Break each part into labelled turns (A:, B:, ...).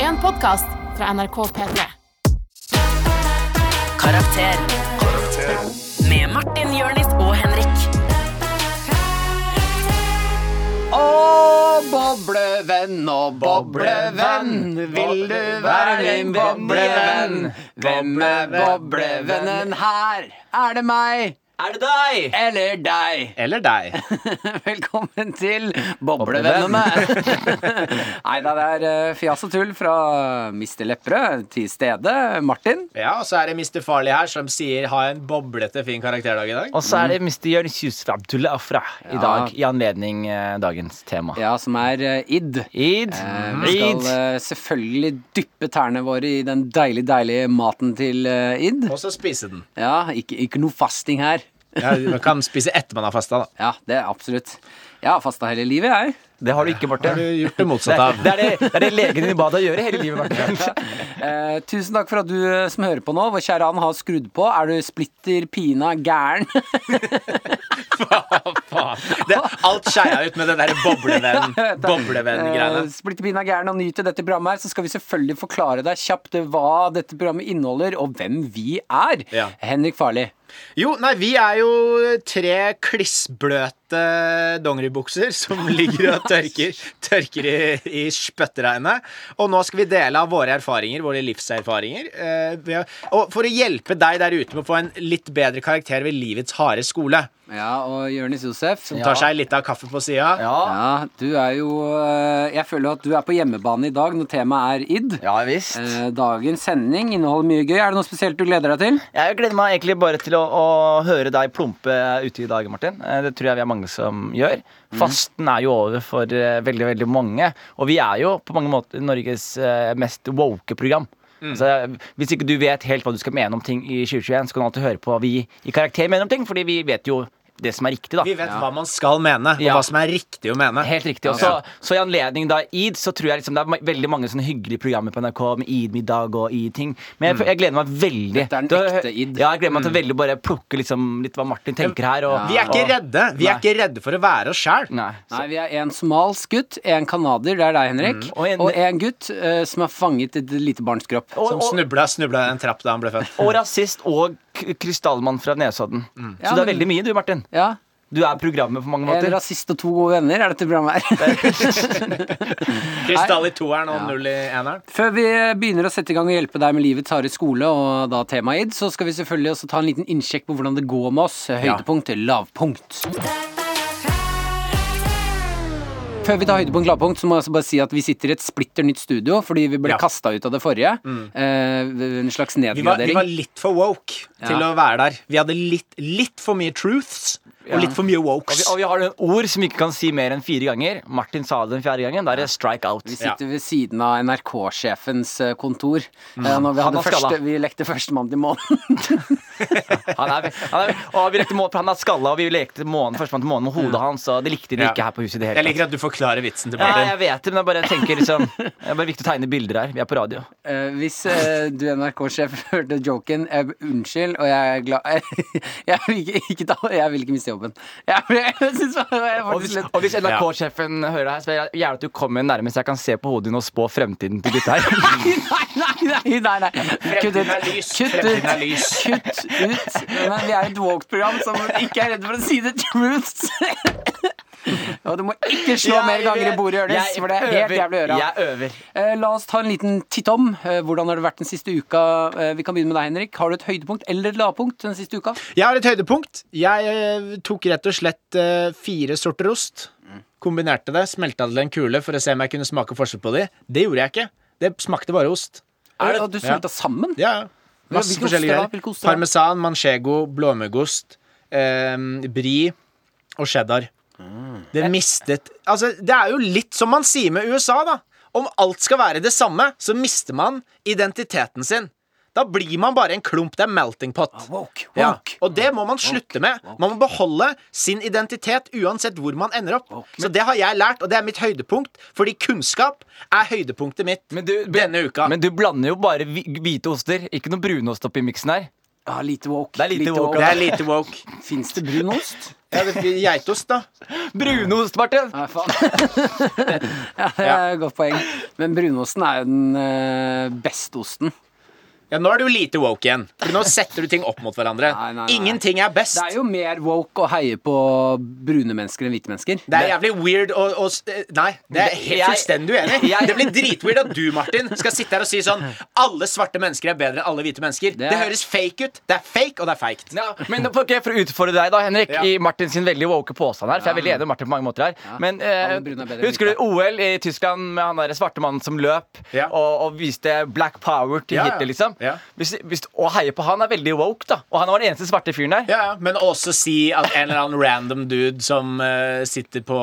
A: en podkast fra NRK P3.
B: Karakter. Med Martin, Jørnis og Henrik.
C: Å, boblevenn og boblevenn, vil du være min boblevenn? Hvem er boblevennen her? Er det meg
D: Er det deg?
C: eller deg?
E: Eller deg.
C: Velkommen til Boblevennene. Nei da, det er eh, fjas og tull fra Mr. Lepperød til stede. Martin.
E: Ja, og så er det Mr. Farlig her som sier ha en boblete fin karakterdag i dag.
D: Og så er det Mr. Jonis Yusufabdullah Afra i dag, i anledning eh, dagens tema.
C: Ja, som er eh, id.
D: Id.
C: Eh,
E: Mm.
C: Vi skal
D: Id.
C: eh, selvfølgelig dyppe tærne våre i den deilig, deilige maten til eh, id.
E: Og så spise den.
C: Ja, ikke, ikke noe fasting her.
E: Ja, man kan spise etter man har fasta, da.
C: Ja, det er absolutt. Jeg har fasta hele livet, jeg.
D: Det har du ikke,
E: Da har
D: Martin.
E: du gjort det
D: Det
E: motsatte
D: er
E: av.
D: det, er det, det, er det legen din ba deg gjøre hele livet, Martin.
C: Eh, tusen takk for at du eh, som hører på nå, vår kjære Ann, har skrudd på. Er du splitter pina gæren?
E: Faen. Det er alt skeia ut med den der boblevenn
C: Eh,
E: boblevenn-greiene.
C: splitter pina gæren og nyter dette programmet her, så skal vi selvfølgelig forklare deg kjapt hva dette programmet inneholder, og hvem vi er.
E: Ja.
C: Henrik Farli.
E: Jo, nei, vi er jo tre klissbløte dongeribukser som ligger og tørker, tørker i, i spyttregnet. Og nå skal vi dele av våre erfaringer, våre livserfaringer. Eh, ved å- og for å hjelpe deg der ute med å få en litt bedre karakter ved livets harde skole,
C: Ja, og Jonis Josef.
E: tar seg litt av kaffe på sida.
D: Ja.
C: Ja, du er jo eh, Jeg føler at du er på hjemmebane i dag når temaet er id.
D: ja visst.
C: Eh, Dagens sending inneholder mye gøy. Er det noe spesielt du gleder deg til?
D: Jeg gleder meg egentlig bare til å, å høre deg plumpe ute i dag, Martin. Eh, Det tror jeg vi er mange som gjør. Fasten er jo over for eh, veldig, veldig mange. Og vi er jo på mange måter Norges eh, mest woke program. Altså, hvis ikke du vet helt hva du skal mene om ting i 2021, så kan du alltid høre på hva vi i karakter mener om ting, fordi vi vet jo det som er riktig, da.
E: Vi vet hva man skal mene, og
D: Ja.
E: hva som er riktig å mene.
D: Helt riktig. Og så- så i anledning da id, så tror jeg liksom det er ma- veldig mange sånne hyggelige programmer på NRK med id-middag og id-ting. Men jeg, jeg gleder meg veldig.
C: Mm. Dette er den
D: til å hø-
C: ekte Mm. id.
D: Ja, jeg gleder meg til å veldig bare plukke liksom litt hva Martin tenker her. Og,
E: Vi er ikke redde. Vi er ikke redde for å være oss sjæl.
D: Nei.
C: Nei, vi er en somalisk gutt, en canadier, det er deg, Henrik,
D: Mm. og en-
C: og en gutt eh, som er fanget i et lite barns kropp.
D: Og,
E: Som
D: og,
E: snubla, snubla i en trapp da han ble født.
D: og rasist og k- krystallmann fra Nesodden. Så
C: Mm. Ja,
D: det er
C: men-
D: veldig mye, du, Martin.
C: Ja,
D: Du er programmet på mange
C: En
D: måter.
C: rasist og to gode venner er dette programmet her.
E: Krystall i toeren og null i eneren.
C: Før vi begynner å sette i gang og hjelpe deg med livets harde skole og da temaet id, så skal vi selvfølgelig også ta en liten innsjekk på hvordan det går med oss. Høydepunkt til lavpunkt. Før vi tar høydepunkt lavpunkt, så må jeg også bare si at vi sitter i et splitter nytt studio, fordi vi ble
E: Ja. Mm.
C: kastet kasta ut av det forrige. Eh, en slags
E: Vi var, vi
C: nedgradering.
E: var litt for woke til
C: Ja.
E: å være der. Vi hadde litt, litt for mye truths og litt for mye
D: Og vi,
E: wokes.
D: og vi har noen ord som vi ikke kan si mer enn fire ganger. Martin sa det den fjerde gangen. Da er det strike out.
C: Vi sitter ved siden av NRK-sjefens eh, kontor. Eh,
E: Mm.
C: når vi, hadde
D: Han var skalla.
C: første, vi lekte førstemann til månen.
D: Han er, han er, og vi rekte må, han er skalla, og vi lekte månen, førstemann til månen med hodet hans. Og det likte de
E: Ja.
D: ikke her på huset i det
E: Jeg
D: hele tatt.
E: liker at du forklarer vitsen til
D: Ja,
E: Martin.
D: jeg vet det, men jeg bare tenker liksom Det er bare viktig å tegne bilder her. Vi er på radio.
C: Eh, hvis eh, du NRK-sjef hørte joken, eh, unnskyld, og jeg er glad jeg, vil ikke, ikke ta, jeg vil ikke miste jobben. Jeg, jeg, synes det var- jeg
D: Og
C: faktisk
D: hvis,
C: litt
D: og hvis NRK-sjefen hører det her, så vil jeg gjerne at du kommer nærmest jeg kan se på hodet ditt og spå fremtiden til gutta her.
C: Nei, nei, nei! nei, nei. Kutt ut.
E: Fremtiden er lys.
C: Kutt ut.
E: Fremtiden er lys.
C: Kutt ut. Men vi er et woke-program som ikke er redd for å si the truth. Og du må ikke slå
D: Jeg
C: mer ganger i
D: vet.
C: bordet, Jonis,
D: Jeg
C: for det er helt
D: øver.
C: jævlig å gjøre.
D: Jeg øver.
C: Eh, La oss ta en liten titt om. Eh, Hvordan har det vært den siste uka? Eh, Vi kan begynne med deg, Henrik. Har du et høydepunkt eller et lavpunkt den siste uka?
E: Jeg har et høydepunkt. Jeg eh, tok rett og slett eh, fire sorter ost.
D: Mm.
E: Kombinerte det, smelta det til en kule for å se om jeg kunne smake forskjell på de. Det gjorde jeg ikke. Det smakte bare ost.
C: Er det, du smelta sammen?
E: Ja, ja. Masse
C: hvilke
E: forskjellige
C: oster da?
E: greier.
C: Hvilke oster da?
E: Parmesan, manchego, blåmuggost, eh, brie og cheddar. Det mistet Altså, det er jo litt som man sier med USA, da. Om alt skal være det samme, så mister man identiteten sin. Da blir man bare en klump. Det er melting pot.
C: Ah, Woke,
E: Ja.
C: woke.
E: Og det må man slutte med. Man må beholde sin identitet uansett hvor man ender opp. Så det har jeg lært, og det er mitt høydepunkt, fordi kunnskap er høydepunktet mitt
D: Men du,
E: denne uka.
D: men du blander jo bare hvi- hvite oster. Ikke noe brunost oppi miksen her.
C: Ja, lite woke.
D: Det er lite woke,
E: det er lite woke.
C: Fins det brun ost?
E: Ja, det blir geitost, da.
D: Brunost, Martin!
C: Nei, faen. ja, det er et godt poeng. Men brunosten er jo den eh, beste osten.
E: Ja, Nå er du lite woke igjen. For Nå setter du ting opp mot hverandre.
C: Nei, nei, nei.
E: Ingenting er best.
C: Det er jo mer woke å heie på brune mennesker enn hvite mennesker.
E: Det er jævlig weird å, å st- Nei, det er jeg helt
D: Jeg-
E: fullstendig uenig. i.
D: Jeg-
E: Det blir dritweird at du, Martin, skal sitte her og si sånn Alle svarte mennesker er bedre enn alle hvite mennesker. Det,
C: er-
E: høres fake ut. Det er fake, og det er feigt.
D: Ja, men ok, For å utfordre deg, da, Henrik,
E: Ja.
D: i Martin sin veldig woke påstand her. For jeg er veldig enig med Martin på mange måter her. Men eh,
C: Han brune er bedre enn
D: Husker
C: hvite.
D: du OL i Tyskland med han der svarte mannen som løp
E: Ja.
D: og, og viste black power til
E: Ja, ja.
D: Hitler, liksom?
E: Ja.
D: Hvis, hvis, å heie på han er veldig woke, da. Og han var den eneste svarte fyren der.
E: Ja, ja, Men også si at en eller annen random dude som eh, sitter på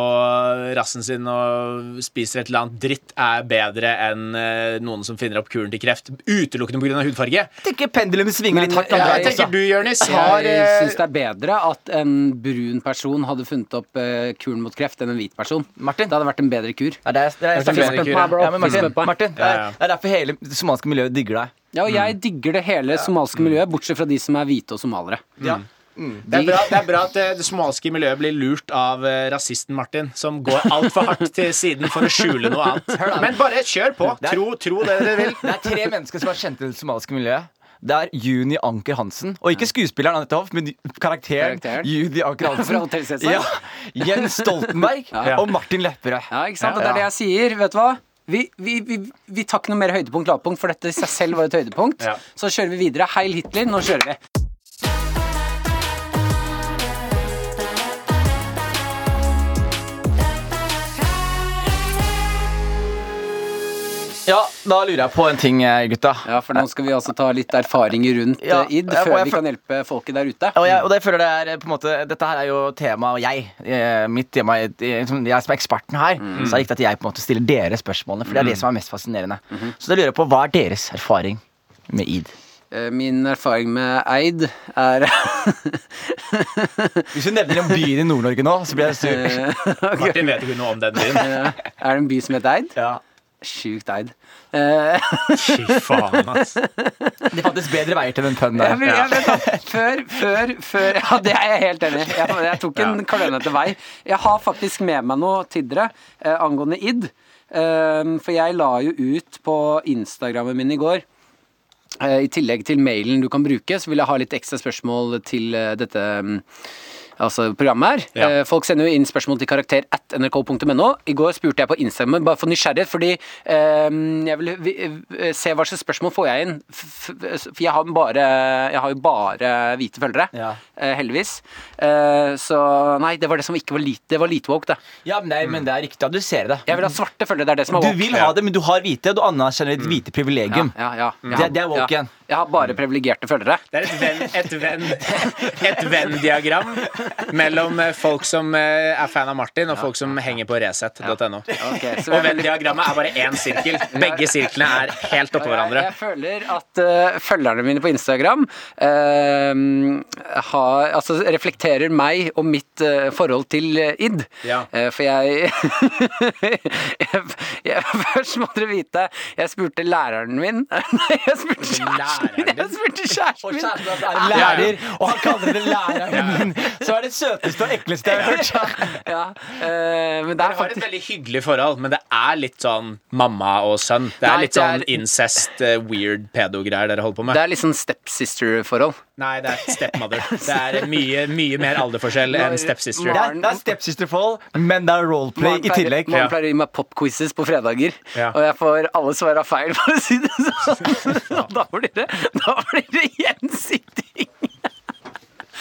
E: rassen sin og spiser et eller annet dritt, er bedre enn eh, noen som finner opp kuren til kreft utelukkende pga. hudfarge.
D: Jeg tenker pendelen svinger
C: Men,
D: litt hardt.
C: ja,
D: andre
E: Jeg
D: veien
E: tenker
D: også.
E: du, Jonis, har
C: Jeg
E: eh,
C: syns det er bedre at en brun person hadde funnet opp eh, kuren mot kreft, enn en hvit person.
D: Martin?
C: Det hadde vært en bedre kur.
D: Nei, det er, det er,
E: Det er
D: jeg
E: ikke
D: snakker-
E: bedre kur, ja.
D: ja, men Martin,
C: Fiskespøtta.
D: Martin det,
E: Ja, ja.
D: er, det er derfor hele det somaliske miljøet digger deg.
C: Ja, og jeg digger det hele somaliske miljøet, bortsett fra de som er hvite og somalere.
D: Ja.
E: Det er, bra, det er bra at eh, det somaliske miljøet blir lurt av eh, rasisten Martin, som går altfor hardt til siden for å skjule noe annet. Men bare kjør på.
D: Det er-
E: Tro, tro det dere vil.
D: Det er tre mennesker som er kjent i det somaliske miljøet. Det er Juni Anker Hansen. Og ikke skuespilleren Anette Hoff, men karakteren,
C: Karakteren.
D: Juni Anker
C: Fra
D: Hansen.
C: Hotell Cæsar.
D: Ja, Jens Stoltenberg
C: Ja.
D: og Martin Lepperød.
C: Ja, ikke sant? Og Det er det jeg sier. Vet du hva? Vi, vi, vi, vi tar ikke noe mer høydepunkt lavpunkt, for dette i seg selv var et høydepunkt.
E: Ja.
C: Så kjører vi videre. Heil Hitler, nå kjører vi.
D: Ja, Da lurer jeg på en ting, eh, gutta.
C: Ja, for nå skal vi altså ta litt erfaringer rundt
D: Ja,
C: eh, id,
D: ja, og
C: før
D: jeg
C: vi
D: føl-
C: kan hjelpe folket der ute.
D: Og jeg, og det føler jeg er eh, på en måte Dette her er jo tema og jeg, eh, mitt tema er- eh, som- Jeg som er eksperten her
C: Mm.
D: Så det er riktig at jeg på en måte stiller dere spørsmålene For det er det som er mest fascinerende
C: Mm-hmm.
D: Så da lurer jeg på, hva er deres erfaring med id?
C: Eh, Min erfaring med eid er
D: Hvis du nevner en by i Nord-Norge nå, så blir jeg sur
E: Martin vet ikke noe om den byen.
C: Er det en by som heter Eid?
D: ja.
C: Sjukt Eid. Eh,
E: Fy faen, ass.
D: Det fantes bedre veier til den pønnen
C: Jeg vil,
D: der
C: jeg vet, da, før, før, før Ja, det er jeg helt enig i. Jeg, jeg tok en klønete vei. Jeg har faktisk med meg noe til dere eh, angående id. Um, for jeg la jo ut på Instagrammen min i går eh, I tillegg til mailen du kan bruke, så vil jeg ha litt ekstra spørsmål til eh, dette mm, altså programmet her.
E: Ja.
C: Eh, Folk sender jo inn spørsmål til karakter at nrk.no. I går spurte jeg på Instagram, bare for nysgjerrighet, fordi eh, jeg vil vi- eh, se hva slags spørsmål får jeg inn. F- f- For jeg har, bare, jeg har jo bare hvite følgere,
D: Ja.
C: eh, heldigvis. Eh, Så nei, det var det som ikke var lite, det var lite woke, det.
D: Ja, men, nei, men det er riktig at du ser det
C: Jeg vil ha svarte følgere, det er det som er
D: Du
C: woke.
D: vil ha det, men du har hvite og Du anerkjenner ditt hvite privilegium
C: ja, ja, ja.
D: Det- det er woke
C: ja.
D: igjen.
C: Jeg har bare privilegerte følgere.
E: Det er et venn, et venn, et venn-diagram mellom eh, folk som eh, er fan av Martin, og folk som henger på Resett.no.
C: Ok, så vi
E: Og
C: er veldig-
E: venn-diagrammet er bare én sirkel. Begge sirklene er helt oppå
C: Og jeg-
E: hverandre.
C: Jeg føler at eh, følgerne mine på Instagram eh, har, altså reflekterer meg og mitt eh, forhold til eh, id.
E: Ja.
C: Eh, for jeg, jeg, jeg Først må dere vite Jeg spurte læreren min Nei, jeg spurte kjæresten min!
E: Læreren din?
C: Jeg spurte kjæresten
D: Og
C: min!
D: kjæresten hans
E: altså,
D: er en lærer Og han kaller det læreren min Så er det søteste og ekleste jeg har hørt
C: Ja, eh, men det er
E: Jeg har et
C: faktisk
E: veldig hyggelig forhold, men det er litt sånn mamma og sønn. Det er
C: Nei,
E: litt
C: det
E: sånn
C: er-
E: incest, eh, weird pedo-greier dere holder på med.
C: det er litt sånn stepsister-forhold.
E: Nei, det er stepmother. Det er mye, mye mer alderforskjell enn stepsister.
D: Det er, det er stepsisterfold, men det er roleplay i tillegg.
C: Man
E: Ja.
C: pleier å gi meg popquizzes på fredager,
E: Ja.
C: og jeg får alle svara feil, for å si det sånn. Og da blir det, da blir det gjensitting.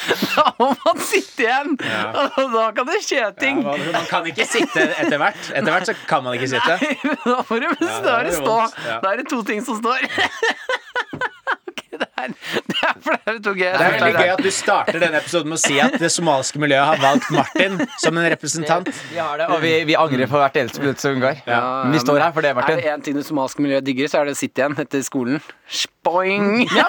C: Da må man sitte igjen,
E: Ja.
C: og da kan det skje ting.
E: Ja, Man kan ikke sitte etter hvert. Etter hvert så kan man ikke sitte.
C: da får du
E: Ja,
C: da
E: da
C: er det
E: er det
C: stå.
E: vondt, ja.
C: Da er det to ting som står. Ok, det er, det er flaut og gøy.
E: Det er veldig gøy at du starter denne episoden med å si at det somaliske miljøet har valgt Martin som en representant.
D: Vi har det, og vi, vi angrer på hvert eneste minutt som går.
C: Ja,
D: Men vi står her for det,
C: Er
D: Martin.
C: det én ting det somaliske miljøet digger, så er det å sitte igjen etter skolen. Spoing!
D: Ja,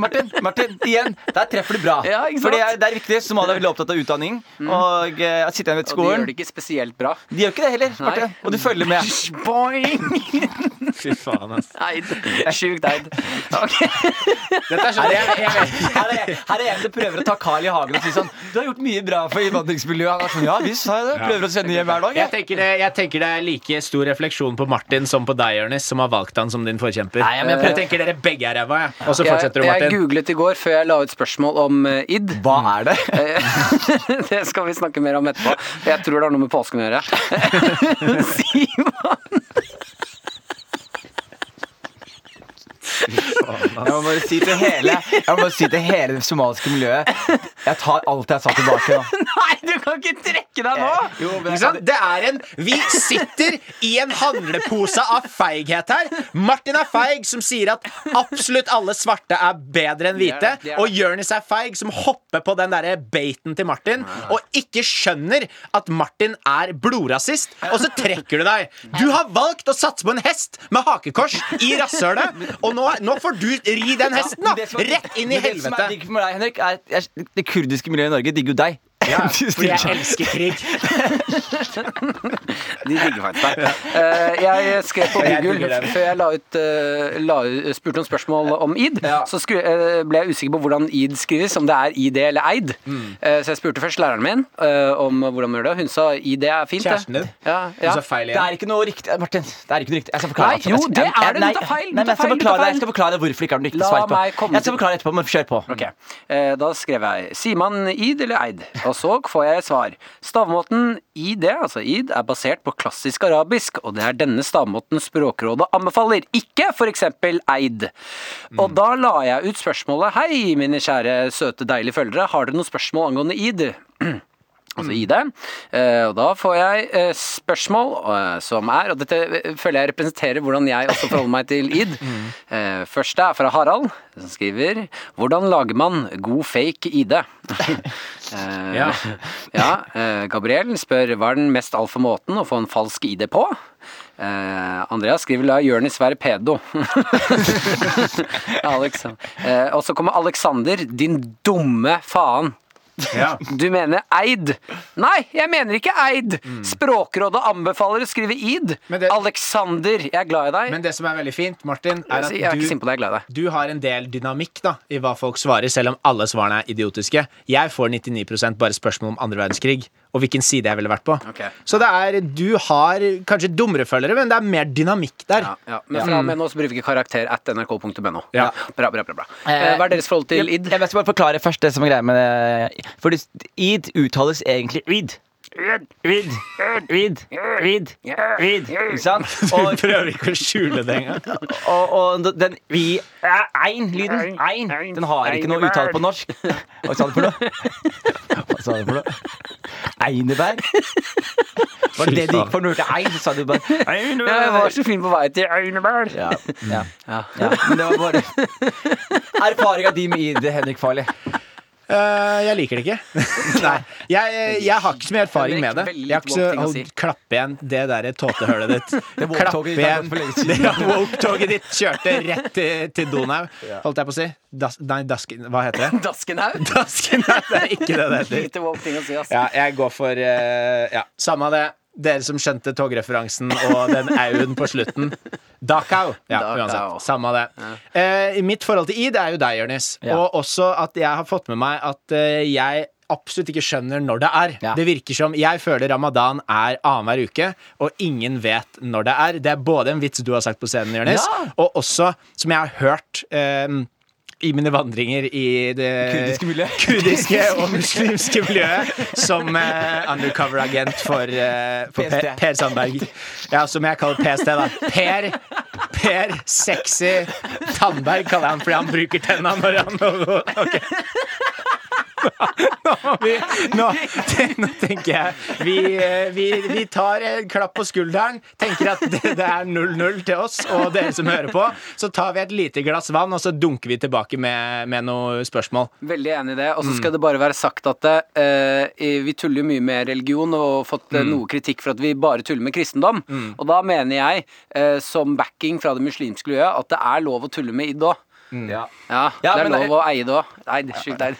D: Martin, Martin, igjen, der treffer du bra.
C: Ja, ikke sant? Mm.
D: For det er, det er viktig. Somalia er veldig opptatt av utdanning. Og eh, sitte
C: Og de
D: igjen ved
C: gjør
D: skolen.
C: det ikke spesielt bra.
D: De gjør ikke det heller, Martin. Og du følger med.
C: Boing!
E: Fy faen, ass.
C: Eid. Sjukt eid. Ok.
E: Dette er sånn
D: Her er, her, er, her er en som prøver å ta Carl i hagen og si sånn Du har gjort mye bra for innvandringsmiljøet. Han er sånn, ja visst har jeg det. Prøver å sende hjem hver dag.
E: Jeg
D: Jeg.
E: tenker, det, jeg tenker det er like stor refleksjon på Martin som på deg, Jonis, som har valgt han som din forkjemper.
D: Nei, men jeg prøver-
E: jeg tenker dere begge er ræva, jeg. Og så
C: Jeg,
E: fortsetter du,
C: jeg
E: Martin.
C: googlet i går før jeg la ut spørsmål om eh, id. Eh,
D: Hva er det?
C: det skal vi snakke mer om etterpå. Jeg tror det har noe med påsken å gjøre. Simon!
D: Jeg må bare si til hele Jeg må bare si til hele det somaliske miljøet Jeg tar alt jeg sa tilbake. Da.
C: Nei, du kan ikke trekke deg nå!
E: Ikke sant? Det er en Vi sitter i en handlepose av feighet her. Martin er feig, som sier at absolutt alle svarte er bedre enn
C: Det
E: hvite.
C: er det, det er det.
E: Og Jonis er feig, som hopper på den derre baiten til Martin og ikke skjønner at Martin er blodrasist. Og så trekker du deg. Du har valgt å satse på en hest med hakekors i rasshølet, og nå, nå får du ri den hesten,
D: Men det
E: da!
D: som er-
E: Rett inn i
D: men Det som er
E: helvete.
D: digg for meg, Henrik, er at jeg- det kurdiske miljøet i Norge digger jo deg.
E: Ja,
D: Du
E: fordi
D: stiller
E: jeg
D: sånn.
E: elsker krig.
C: De digger faktisk deg. Eh, jeg skrev på
E: Jeg
C: Google
E: digger dem.
C: før jeg la ut, eh, la, ut- spurte noen spørsmål om id.
D: Ja.
C: Så skru, eh, ble jeg usikker på hvordan id skrives, om det er id eller eid.
E: Mm.
C: Eh, så jeg spurte først læreren min eh, om hvordan man gjør det. Hun sa id er fint. det.
E: Kjæresten din.
C: Ja,
E: Du
C: ja.
E: sa feil
D: Det
E: igjen.
D: er ikke noe riktig Martin, det er ikke noe riktig. Jeg skal forklare
C: Nei,
D: etterpå.
C: jo,
D: Jeg skal-
C: det er det.
D: Nei,
C: Du tar feil. Du
D: Nei, men jeg
C: tar
D: skal
C: feil. Du tar
D: forklare deg.
C: feil.
D: Jeg skal forklare hvorfor ikke har den riktige
C: La
D: svar på.
C: meg komme
D: Jeg skal
C: til-
D: forklare etterpå, men kjør på.
C: Ok, eh, Da skrev jeg Sier man id eller eid? Og så får jeg svar. Stavmåten id, altså id, er basert på klassisk arabisk, og det er denne stavmåten Språkrådet anbefaler, ikke f.eks. eid. Og da la jeg ut spørsmålet Hei, mine kjære søte, deilige følgere, har dere noen spørsmål angående id? Altså ID. Eh, og da får jeg eh, spørsmål eh, som er Og dette eh, føler jeg representerer hvordan jeg også forholder meg til ID. Eh, første er fra Harald, som skriver Hvordan lager man god fake ID? eh,
E: Ja.
C: ja. eh, Gabriel spør hva er den mest alfa måten å få en falsk ID på? Eh, Andreas skriver la Jonis være pedo. Alex. Eh, og så kommer Alexander, din dumme faen.
E: Ja.
C: Du mener eid? Nei, jeg mener ikke eid. Språkrådet anbefaler å skrive id.
E: Mm. Men det-
C: Alexander, jeg er glad i deg.
E: Men det som er veldig fint, Martin, er
C: jeg er
E: at
C: ikke sint
E: du,
C: på deg, jeg er glad i deg.
E: du har en del dynamikk da, i hva folk svarer, selv om alle svarene er idiotiske. Jeg får 99 bare spørsmål om andre verdenskrig og hvilken side jeg ville vært på.
C: Ok.
E: Så det er, du har kanskje dummere følgere, men det er mer dynamikk der.
C: Ja, ja. Men fra og med nå så bruker vi karakter at nrk.no.
E: Ja.
C: Bra, bra, bra. bra. Eh, Hva er deres forhold til id?
D: Jeg, jeg skal bare forklare først det som er greia med det. Fordi id uttales egentlig id. Id. Id. Id. Id. Ikke sant?
E: Du
D: Og,
E: prøver ikke å skjule det engang.
D: og, og den i ein-lyden, ein, den har ikke noe uttale på norsk. Hva sa du for noe? Hva sa du for noe? Einebær? Var det det du gikk for når du hørte ein? Så sa du bare
C: Ja, jeg
D: Einebær.
C: var så fin på vei til Einebær.
D: Ja, ja, ja. Men det var bare erfaringa di med id, Henrik Farley.
E: Eh, jeg liker det ikke. Nei, jeg, jeg har ikke så mye erfaring
C: Henrik,
E: med det.
C: veldig
E: Jeg har ikke så,
C: woke ting å
E: å,
C: si.
E: Klapp igjen det der tåtehølet ditt.
D: Det woke-toget ditt
E: Klapp
D: har gått
E: igjen.
D: for lenge siden.
E: Det der woke-toget ditt kjørte rett til, til Donau, holdt jeg på å si. Das, nei, dasken Hva heter det?
C: Daskenhaug.
E: Dasken, nei, det er ikke det det heter.
C: Lite woke ting å si, ass.
E: Ja, jeg går for eh, Ja, samme det. Dere som skjønte togreferansen og den au-en på slutten. Dakau. Ja,
C: Dakau.
E: uansett. Samme det. Eh, mitt forhold til id er jo deg, Jonis.
D: Ja.
E: Og også at jeg har fått med meg at eh, jeg absolutt ikke skjønner når det er.
D: Ja.
E: Det virker som Jeg føler ramadan er annenhver uke, og ingen vet når det er. Det er både en vits du har sagt på scenen, Jonis,
D: Ja.
E: og også som jeg har hørt eh, i mine vandringer i det
D: Kurdiske miljøet.
E: kurdiske og muslimske miljøet som eh, undercover-agent for, eh, for
D: PST.
E: per, per Sandberg. Ja, som jeg kaller PST, da. Per, per Sexy Tandberg kaller jeg han fordi han bruker tenna når han Ok. Nå, må vi, nå, nå tenker jeg vi, eh, vi, vi tar en klapp på skulderen, tenker at det, det er 0-0 til oss og dere som hører på. Så tar vi et lite glass vann, og så dunker vi tilbake med, med noen spørsmål.
C: Veldig enig i det. Og så
D: Mm.
C: skal det bare være sagt at eh, vi tuller jo mye med religion og har fått eh,
D: Mm.
C: noe kritikk for at vi bare tuller med kristendom. Og da mener jeg, eh, som backing fra det muslimske miljøet, at det er lov å tulle med id òg.
D: Ja.
C: Ja,
D: Ja,
C: det er
D: men
C: lov
D: det-
C: å eie det òg. Nei, det er sjukt eid.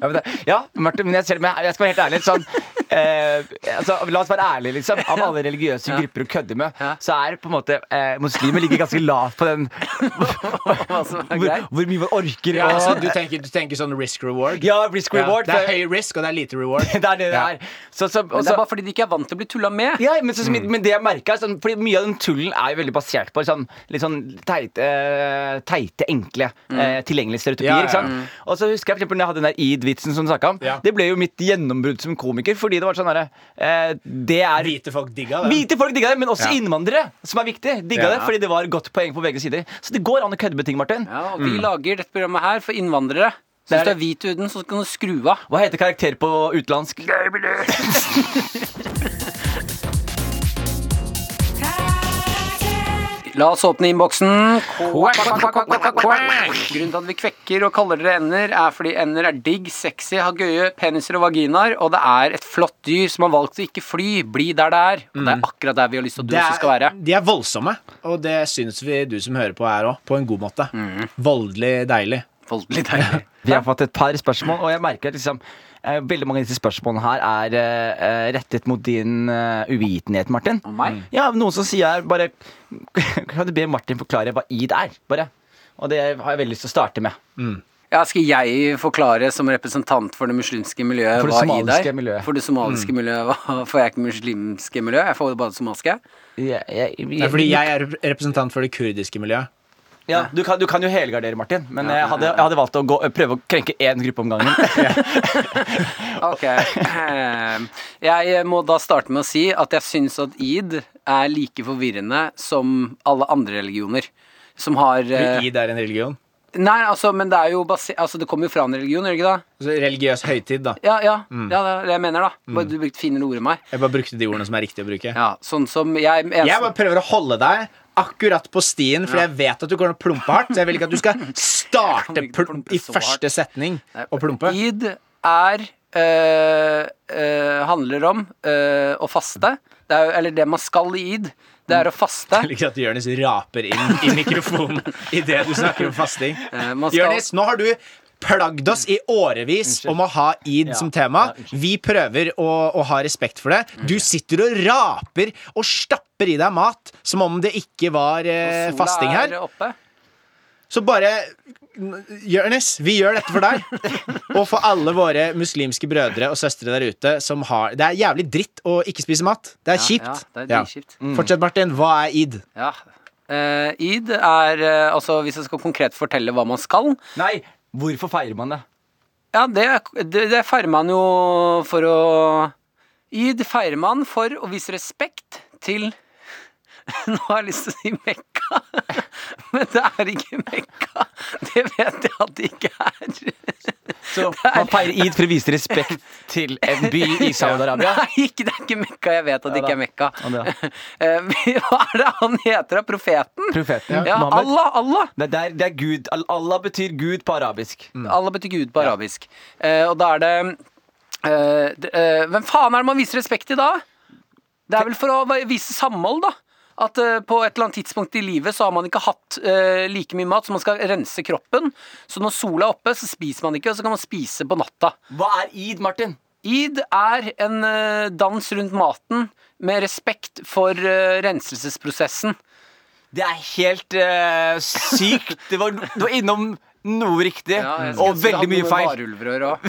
D: Ja, men, det, ja Martin, men jeg, selv, men jeg skal være helt ærlig. Sånn, eh, altså, La oss være ærlige, liksom. Av alle religiøse grupper å kødde med,
C: Ja.
D: så er på en måte eh, muslimer ligger ganske lavt på den
C: Hva som er
D: hvor,
C: greit.
D: hvor mye man orker.
E: Ja,
D: og-
E: altså, du, tenker, du tenker sånn risk reward?
D: ja risk reward.
E: det er
D: for-
E: høy risk, og det er lite reward.
D: det er det det
E: Ja.
D: er. Så, så,
C: Men det
D: så-
C: er bare fordi de ikke er vant til å bli tulla med.
D: altså- Ja, men, så, så,
E: Mm.
D: men det jeg merket er sånn, Fordi mye av den tullen er jo veldig basert på sånn, litt sånn teite, eh, teite enkle, eh, tilgjengelige stereotypier.
E: Mm. Ja, ja,
D: ikke sant? Og så husker jeg for eksempel når jeg hadde den der id-vitsen som du snakket om.
E: Ja.
D: Det ble jo mitt gjennombrudd som komiker, fordi det var sånn herre eh, Det er
E: Hvite folk digga det.
D: Hvite folk digga det, men også
E: Ja.
D: innvandrere, som er viktig, digga
E: Ja.
D: det fordi det var godt poeng på begge sider. Så det går an å kødde med ting, Martin.
C: Ja, og vi lager dette programmet her for innvandrere. Så
D: Mm. Det
C: hvis
D: er
C: du er hvit i huden, så kan du skru av.
D: Hva heter karakter på utenlandsk?
C: La oss åpne innboksen. Grunnen til at vi kvekker og kaller dere ender, er fordi ender er digg, sexy, har gøye peniser og vaginaer, og det er et flott dyr som har valgt å ikke fly. Bli der det er. Og det
D: Mm.
C: er akkurat der vi har lyst til at du
E: Det
C: også skal
E: er,
C: være.
E: de er voldsomme, og det syns vi du som hører på er òg, på en god måte.
C: Mm.
E: Voldelig deilig.
C: Voldelig deilig.
D: Vi har fått et par spørsmål, og jeg merker at liksom, eh, veldig mange av disse spørsmålene her er eh, eh, rettet mot din eh, uvitenhet, Martin. Mm.
C: Og meg?
D: Ja, noen som sier her bare Kan du be Martin forklare hva id er? Bare. Og det har jeg veldig lyst til å starte med.
C: Ja, skal jeg forklare som representant for det muslimske miljøet
D: For det
C: hva
D: somaliske
C: id er?
D: miljøet. Mm.
C: For det somaliske miljøet. hva- For jeg er ikke muslimske miljø, jeg får bare det somaliske.
D: Jeg, jeg, jeg,
E: Det er fordi jeg er representant for det kurdiske miljøet.
D: ja, du, kan, du kan jo helgardere, Martin, men jeg, hadde, jeg hadde valgt å gå, prøve å krenke én gruppe om gangen.
C: Ok. ehm, Jeg må da starte med å si at jeg syns at id er like forvirrende som alle andre religioner. Som har eh,
E: Id er en religion.
C: Nei, altså, men det er jo base... Altså, det kommer jo fra en religion, gjør det ikke det?
E: Altså, religiøs høytid, da.
C: Ja, ja.
E: Mm.
C: ja, det er det jeg mener, da. Bare du brukte finere ord enn meg.
E: Jeg bare brukte de ordene som er riktige å bruke.
C: Ja, sånn som jeg eneste-
E: Jeg bare prøver å holde deg akkurat på stien, for jeg vet at du kommer til å plumpe hardt. Så jeg vil ikke at du skal
C: Jeg
E: starte
C: kan ikke
E: pl
C: plumpe
E: i
C: så
E: første
C: hardt.
E: setning og plumpe.
C: Id er øh, øh, handler om øh, å faste. Det er, jo- eller det man skal i id, det
E: Mm.
C: er å faste.
E: Jeg liker at Jonis raper inn i mikrofonen idet du snakker om fasting.
C: Eh, man skal-
E: Jonis, nå har du plagd oss i årevis om å ha id som tema. Vi prøver å, å ha respekt for det. Du sitter og raper og stapper i deg mat som om det ikke var eh,
C: Sola
E: fasting her.
C: er oppe.
E: Så bare Jonis, vi gjør dette for deg og for alle våre muslimske brødre og søstre der ute som har Det er jævlig dritt å ikke spise mat. Det er
C: Ja,
E: kjipt.
C: ja, det er Mm.
E: Ja.
C: dritkjipt.
E: Fortsett, Martin. Hva er id?
C: Ja. Eh, id er eh, Altså, hvis jeg skal konkret fortelle hva man skal
D: Nei, hvorfor feirer man det?
C: Ja, det, det, det feirer man jo for å Id feirer man for å vise respekt til Nå har jeg lyst til å si Mekka, men det er ikke Mekka. Det vet jeg at det ikke er.
D: Så Man feirer id for å vise respekt til en by i Saudi-Arabia.
C: Nei, ikke, det er ikke Mekka. Jeg vet at det
D: Ja da.
C: ikke er Mekka.
D: Ja, det
C: Eh, Hva er det han heter, da? Profeten?
D: Profeten
C: Ja,
D: Mohammed.
C: Allah, Allah.
D: Det, det, er, det er Gud. Al- Allah betyr Gud på arabisk.
C: Allah betyr Gud på arabisk. Eh, og da er det eh, d- eh, Hvem faen er det man viser respekt til da? Det er vel for å va- vise samhold, da. At eh, på et eller annet tidspunkt i livet så har man ikke hatt eh, like mye mat, så man skal rense kroppen. Så når sola er oppe, så spiser man ikke, og så kan man spise på natta.
D: Hva er id, Martin?
C: Eid er en eh, dans rundt maten med respekt for eh, renselsesprosessen.
D: Det er helt eh, sykt. Det var, du var innom noe riktig og veldig mye feil.
C: Varulvrør og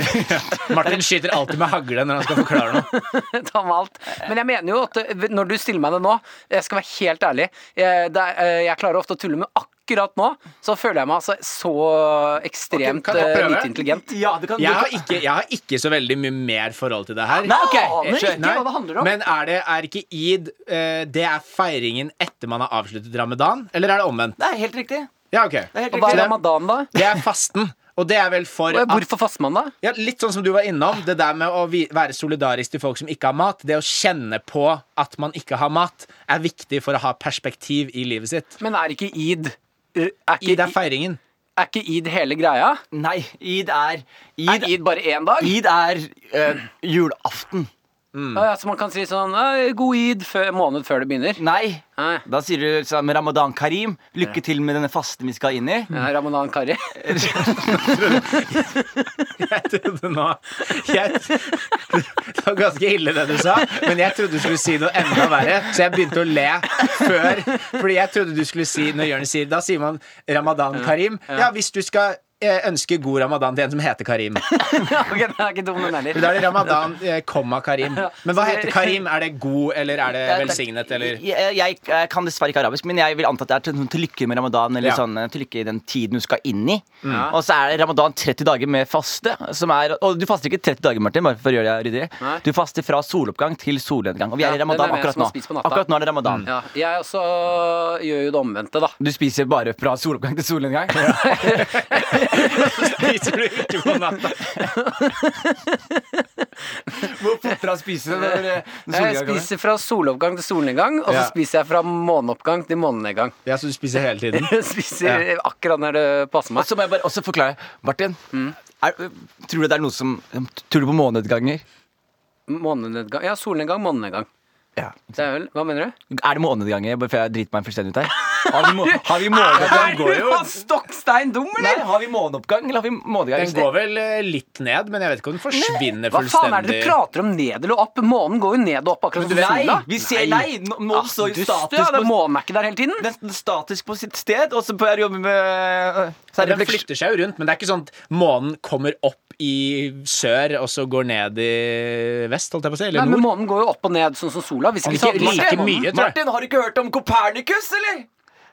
E: Martin skyter alltid med hagle når han skal forklare noe.
C: ta med alt. Men jeg mener jo at eh, når du stiller meg det nå, jeg skal være helt ærlig Jeg, det er, eh, jeg klarer ofte å tulle, men akkurat nå så føler jeg meg altså så ekstremt
E: Ok, kan jeg
C: eh,
E: prøve?
C: lite intelligent.
D: Ja, du kan, du
E: Jeg
D: kan.
E: har ikke, jeg har ikke så veldig mye mer forhold til det her.
D: Nei, ok,
C: Aner
D: jeg skjønner.
C: ikke hva det handler om.
E: Men er, det, er ikke id eh, Det er feiringen etter man har avsluttet ramadan? Eller er det omvendt?
D: Det er helt riktig.
E: Ja, ok
D: Det er helt
C: Og hva
D: riktig.
C: er ramadan, da?
E: Det er fasten. Og det er vel for
C: Og
E: at
C: Hvorfor faster man da?
E: Ja, Litt sånn som du var innom. Det der med å vi- være solidarisk til folk som ikke har mat. Det å kjenne på at man ikke har mat, er viktig for å ha perspektiv i livet sitt.
C: Men er ikke eid Er
E: I den
C: ikke,
E: feiringen.
C: er ikke eid hele greia?
D: Nei, id er
C: Er
D: Id,
C: eid bare én dag?
D: id er eh, julaften.
C: Å ja, så man kan si sånn «Ei, God id før, måned før det begynner.
D: Nei.
C: Nei.
D: Da sier du sånn Ramadan Karim. Lykke til med denne fasten vi skal inn i.
C: Ja, Ramadan Kari.
E: Jeg trodde nå jeg, Det var ganske ille det du sa, men jeg trodde du skulle si noe enda verre, så jeg begynte å le før. Fordi jeg trodde du skulle si når Jonis sier Da sier man Ramadan Karim. Ja, hvis du skal eh, ønske god ramadan til en som heter Karim.
C: ok, den er ikke dum, den heller.
E: Da er det ramadan, eh, komma Karim. Men hva heter Karim? Er det god, eller er det Eh, velsignet, eller
D: Jeg, jeg, jeg kan dessverre ikke arabisk, men jeg vil anta at det er til, sånn til lykke med ramadan. Eller
E: Ja. Mm.
D: sånn eh, til lykke i den tiden du skal inn i. Og så er det ramadan 30 dager med faste. Som er, og du faster ikke 30 dager, Martin. Bare for å gjøre det ryddig
C: Nei.
D: Du faster fra soloppgang til solnedgang. Og vi
C: Ja,
D: er i ramadan
C: den er det
D: akkurat
C: som
D: nå.
C: har spist på natta. Mm.
D: Akkurat nå er det ramadan.
C: Ja, jeg også gjør jo det omvendte, da.
D: Du spiser bare fra soloppgang til solnedgang?
E: Spiser du ikke god natt?
D: Hvor fortere spiser du når, eh, når
C: Jeg
D: solnedgang kommer?
C: spiser fra soloppgang til solnedgang, og så
E: Ja.
C: spiser jeg fra måneoppgang til månednedgang.
E: Ja, så du spiser hele tiden?
C: Jeg spiser akkurat når det passer
D: Og
C: meg. Altså,
D: så må jeg bare også forklare. Martin,
C: Mm.
D: er, tror du det er noe som Tror du på månedganger?
C: Månednedgang Ja, solnedgang, månednedgang.
D: Ja.
C: Det er vel Hva mener du?
D: Er det månedganger? Bare for jeg driter meg fullstendig ut her. Har vi, må, har vi månedgang?
E: Den går jo
C: stokk stein dum,
D: Nei, har vi måneoppgang, eller har vi månedgang?
E: Den går vel eh, litt ned, men jeg vet ikke om den forsvinner
C: Hva faen er det
E: fullstendig.
C: du prater om? Ned eller opp? Månen går jo ned og opp, akkurat som
D: Nei,
C: sola.
D: vi ser nei! nå-
E: Ah,
D: Månen står jo
C: Dust,
D: statisk
C: ja. Det er
D: på,
C: månen er ikke der hele tiden.
D: den står statisk på sitt sted, og så på jeg jobbe med øh, så er det
E: Den
D: refleks-
E: flytter seg jo rundt, men det er ikke sånn at månen kommer opp i sør og så går ned i vest, holdt jeg på å si,
C: Nei,
E: eller
C: men
E: nord.
C: Månen går jo opp og ned, sånn som sola. Hvis ikke
E: Men
C: så
E: ikke
C: hadde
E: like
C: Martin-
E: mye, tror jeg.
D: Martin, har du ikke hørt om Kopernikus, eller?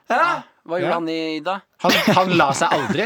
D: Hæ?
E: Ah.
C: Hva
E: Ja.
C: gjorde han i dag?
E: Han, han la seg aldri.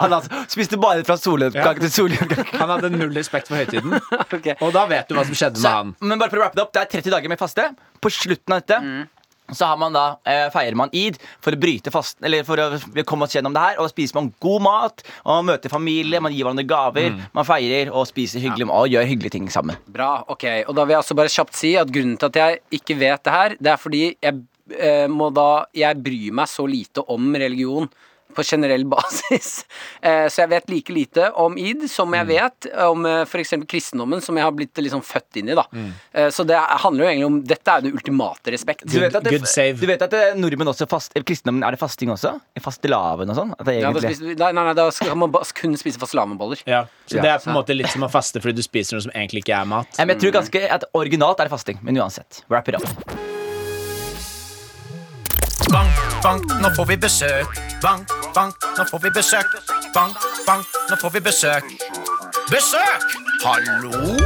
D: Han altså, spiste bare fra soloppgang
E: Ja.
D: til soloppgang.
E: Han hadde null respekt for høytiden.
C: Ok.
E: Og da vet du hva som skjedde med
D: Så,
E: han.
D: men bare for å wrappe det opp, det er 30 dager med faste. På slutten av dette Mm. så har man da, eh, feirer man id for å bryte fasten, eller for å komme oss gjennom det her. Og da spiser man god mat, og man møter familie, man gir hverandre gaver.
E: Mm.
D: Man feirer og spiser hyggelig og gjør hyggelige ting sammen.
C: Bra, ok. Og da vil jeg også bare kjapt si at grunnen til at jeg ikke vet det her, det er fordi jeg, eh, må da, jeg bryr meg så lite om religion på generell basis. Eh, så jeg vet like lite om id som
D: Mm.
C: jeg vet om eh, for eksempel kristendommen, som jeg har blitt liksom født inn i. da.
D: Mm.
C: Eh, så det er- handler jo egentlig om Dette er jo den ultimate respekt.
D: Du vet at, det,
E: good save.
D: du vet at det, nordmenn også fast, eh, kristendommen er det fasting også? I fastelavn og sånn? At det
C: Ja, da
D: egentlig
C: spiser, nei, nei, nei, da skal man ba- kun spise fastelavnboller.
E: Ja, så
D: Ja.
E: det er på en måte litt som å faste fordi du spiser noe som egentlig ikke er mat.
D: Ja, men jeg tror ganske at Originalt er det fasting, men uansett. Wrap it up.
F: Bank, bank, nå får vi besøk. Bank, bank, nå får vi besøk. Bank, bank, nå får vi besøk. Besøk! Hallo?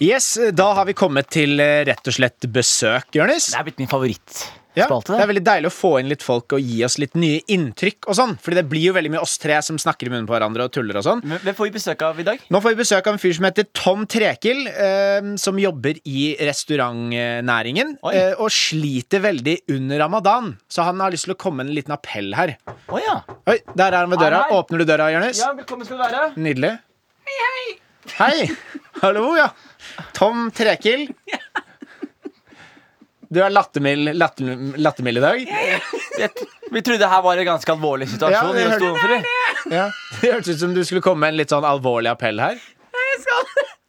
E: Yes, Da har vi kommet til eh, rett og slett besøk, Jonis.
D: Det er blitt min
E: Ja,
D: favorittspalte.
E: det er veldig deilig å få inn litt folk og gi oss litt nye inntrykk. og sånn Fordi det blir jo veldig mye oss tre som snakker i munnen på hverandre og tuller og sånn.
D: Men Hvem får vi besøk av i dag?
E: Nå får vi besøk av en fyr som heter Tom Trekild, eh, som jobber i restaurantnæringen.
D: Oi.
E: Eh, og sliter veldig under ramadan, så han har lyst til å komme med en liten appell her.
D: Å ja.
E: Oi, Der er han ved døra.
D: Er han her?
E: Åpner du døra, Jonis?
D: Velkommen skal du være.
E: Nydelig. Hei, hei. Hei. Hallo, ja. Tom Trekild. Du er lattermild latter, lattermild i dag.
D: Jeg- Vi trodde det her var en ganske alvorlig situasjon.
E: Ja, vi
D: vi sto
E: hørte-
D: overfor, vi.
E: Ja. Det hørtes ut som du skulle komme med en litt sånn alvorlig appell her.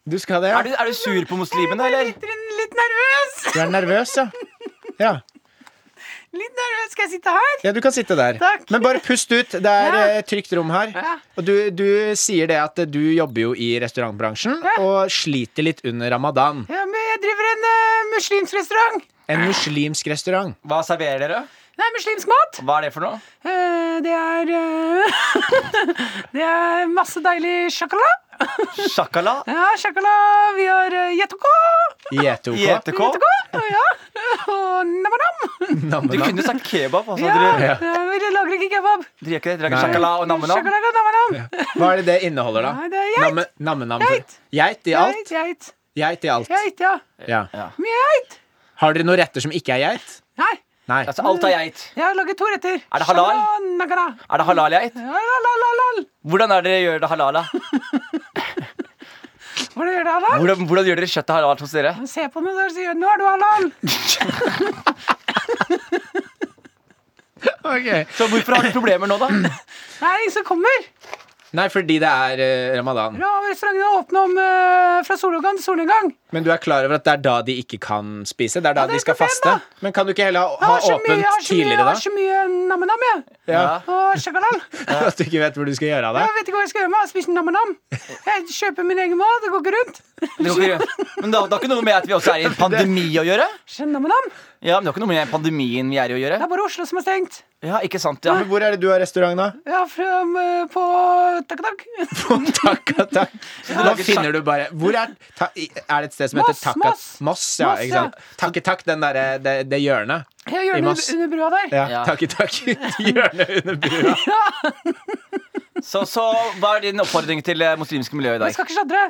E: Du skal det, ja.
D: er, du, er du sur på muslimene, eller?
A: Litt nervøs!
E: Du er nervøs, ja. ja.
A: Litt nervøs. Skal jeg sitte her?
E: Ja, du kan sitte der.
A: Takk.
E: Men bare pust ut. Det er
A: Ja.
E: eh, et trygt rom her.
A: Ja.
E: Og du, du sier det at du jobber jo i restaurantbransjen og sliter litt under ramadan.
A: Ja, men jeg driver en uh, muslimsk restaurant.
E: En muslimsk restaurant.
D: Hva serverer dere?
A: Det er muslimsk mat.
D: Hva er det for noe?
A: Eh, det er eh, Det er masse deilig sjakala.
D: Shakala?
A: Ja, sjakala. Vi har uh, jetoko.
E: Gjetoko.
D: JTK?
A: Ja. Og namanam.
D: Du kunne sagt kebab. Altså.
A: Ja,
D: Dere,
A: eh, men jeg lager ikke kebab.
D: dere gjør ikke det? Dere
E: Nei.
D: lager shakala og nammenam?
A: Shakalaka, namanam.
E: Hva er det det inneholder, da?
A: Nei, det er geit.
E: Namme- Namme-nam.
A: Geit.
E: Geit i alt?
A: Geit, geit.
E: Geit i alt.
A: Geit, ja.
E: Ja.
A: Mye geit.
E: Har dere noen retter som ikke er geit?
A: Nei,
E: Nei.
D: Altså, alt er geit.
A: jeg har laget to retter.
D: Er det halal?
A: Shakalaka, nakara.
D: Er det halal-geit?
A: Ja, la, la, la, la.
D: Hvordan er det dere gjør det halala?
A: Hvordan gjør det halal?
D: Hvordan, hvordan gjør dere kjøttet halal hos dere?
A: Se på meg og sier 'nå er du halal'.
E: Ok.
D: Så hvorfor har dere problemer nå, da?
A: Nei, som kommer.
E: Nei, fordi det er eh, ramadan.
A: Bra, Restauranten er åpen om eh, fra soloppgang til solnedgang.
E: Men du er klar over at det er da de ikke kan spise? Det er da
A: det
E: de
A: er
E: skal
A: et problem,
E: faste? Men kan du ikke heller
A: Jeg
E: ha
A: har så mye, jeg
E: åpent
A: har så mye, jeg
E: tidligere da?
A: har så mye nam-nam, jeg.
E: Ja.
A: Og sjakalal.
E: At du ikke vet hvor du skal gjøre av
A: Jeg
E: deg?
A: vet ikke hva jeg skal gjøre med å spise nam-nam. Jeg kjøper min egen mat, det går ikke rundt.
D: Det går ikke rundt. Men det har det har ikke noe med at vi også er i en pandemi å gjøre?
A: Skjønn nam-nam.
D: Ja, men det har ikke noe med pandemien vi er i å
A: Det
D: gjøre?
A: er bare Oslo som er stengt.
D: Ja, ikke sant? Ja.
E: Men hvor er det du har restaurant, da?
A: Ja, fra, eh, på Takk-takk.
E: Takk, takk. Da
D: lager
E: finner du bare Hvor er, ta, er det et sted som heter
A: Moss,
E: Takka...
A: Moss.
E: Moss, ja,
A: Moss,
E: ikke sant? Takke takk, den derre det, det hjørnet.
A: Jeg gjør
E: I
A: det
E: Moss.
A: under- under brua der.
E: Ja,
D: Ja.
E: Takke takk. Hjørnet under brua.
D: Så, så hva er din oppfordring til det muslimske miljøet i
A: Jeg
D: dag?
A: skal ikke sladre.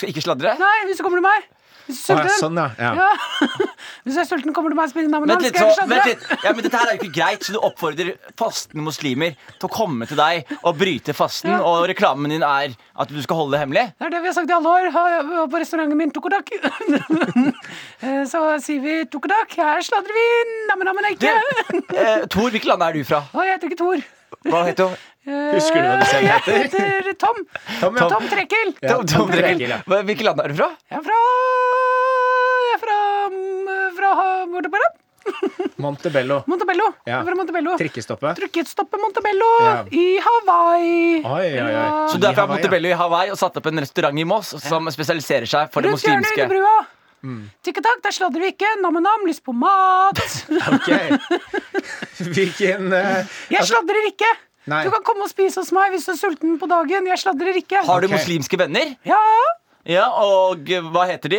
D: Skal ikke sladre?
A: Nei, hvis du kommer til meg. Hvis du
E: Å,
A: er
E: ja,
A: sulten.
E: sånn, ja. ja.
A: Ja. Hvis du er sulten, kommer du til meg og spiser nam-nam.
D: Vent litt, så,
A: Skal jeg ikke
D: vent
A: sladre?
D: litt. Ja, men dette her er jo ikke greit, så du oppfordrer fastende muslimer til å komme til deg og bryte fasten,
A: Ja.
D: og reklamen din er at du skal holde det hemmelig?
A: Det er det vi har sagt i alle år. Ha- På restauranten min Tokodak. Eh, Så sier vi Tokodak. Her sladrer vi nam-nam-en
D: Du,
A: ikke.
D: eh, Tor, hvilket land er du fra?
A: Og jeg heter ikke Tor.
D: Hva heter du?
E: Husker du hva du selv
A: Jeg
E: heter?
A: heter Tom.
E: Tom, ja.
A: Tom Trekkel.
E: Ja,
D: Tom-
E: Tom
D: Tom Drekel.
E: Drekel, ja.
D: Hva- Hvilket land er du fra?
A: Jeg er fra Jeg er fra fra Montebello.
E: Montebello.
A: Montebello.
E: Ja.
A: Jeg er fra Montebello.
E: Trikkestoppet.
A: Trykkestoppet Montebello
E: Ja.
A: i Hawaii.
E: Oi, oi, oi.
D: Så du er
E: I
D: fra
E: Hawaii, ja.
D: Montebello i Hawaii og satte opp en restaurant i Moss som spesialiserer seg for det
A: Rundt hjørnet under
D: muslimske?
A: brua. Tikketak, der sladrer vi ikke. Nam-nam, lyst på mat.
E: Ok. Hvilken eh,
A: Jeg
E: altså,
A: sladrer ikke.
E: Nei.
A: Du kan komme og spise hos meg hvis du er sulten på dagen. Jeg sladrer ikke.
D: Har du
E: Ok.
D: muslimske venner?
A: Ja,
D: Ja, og eh, hva heter de?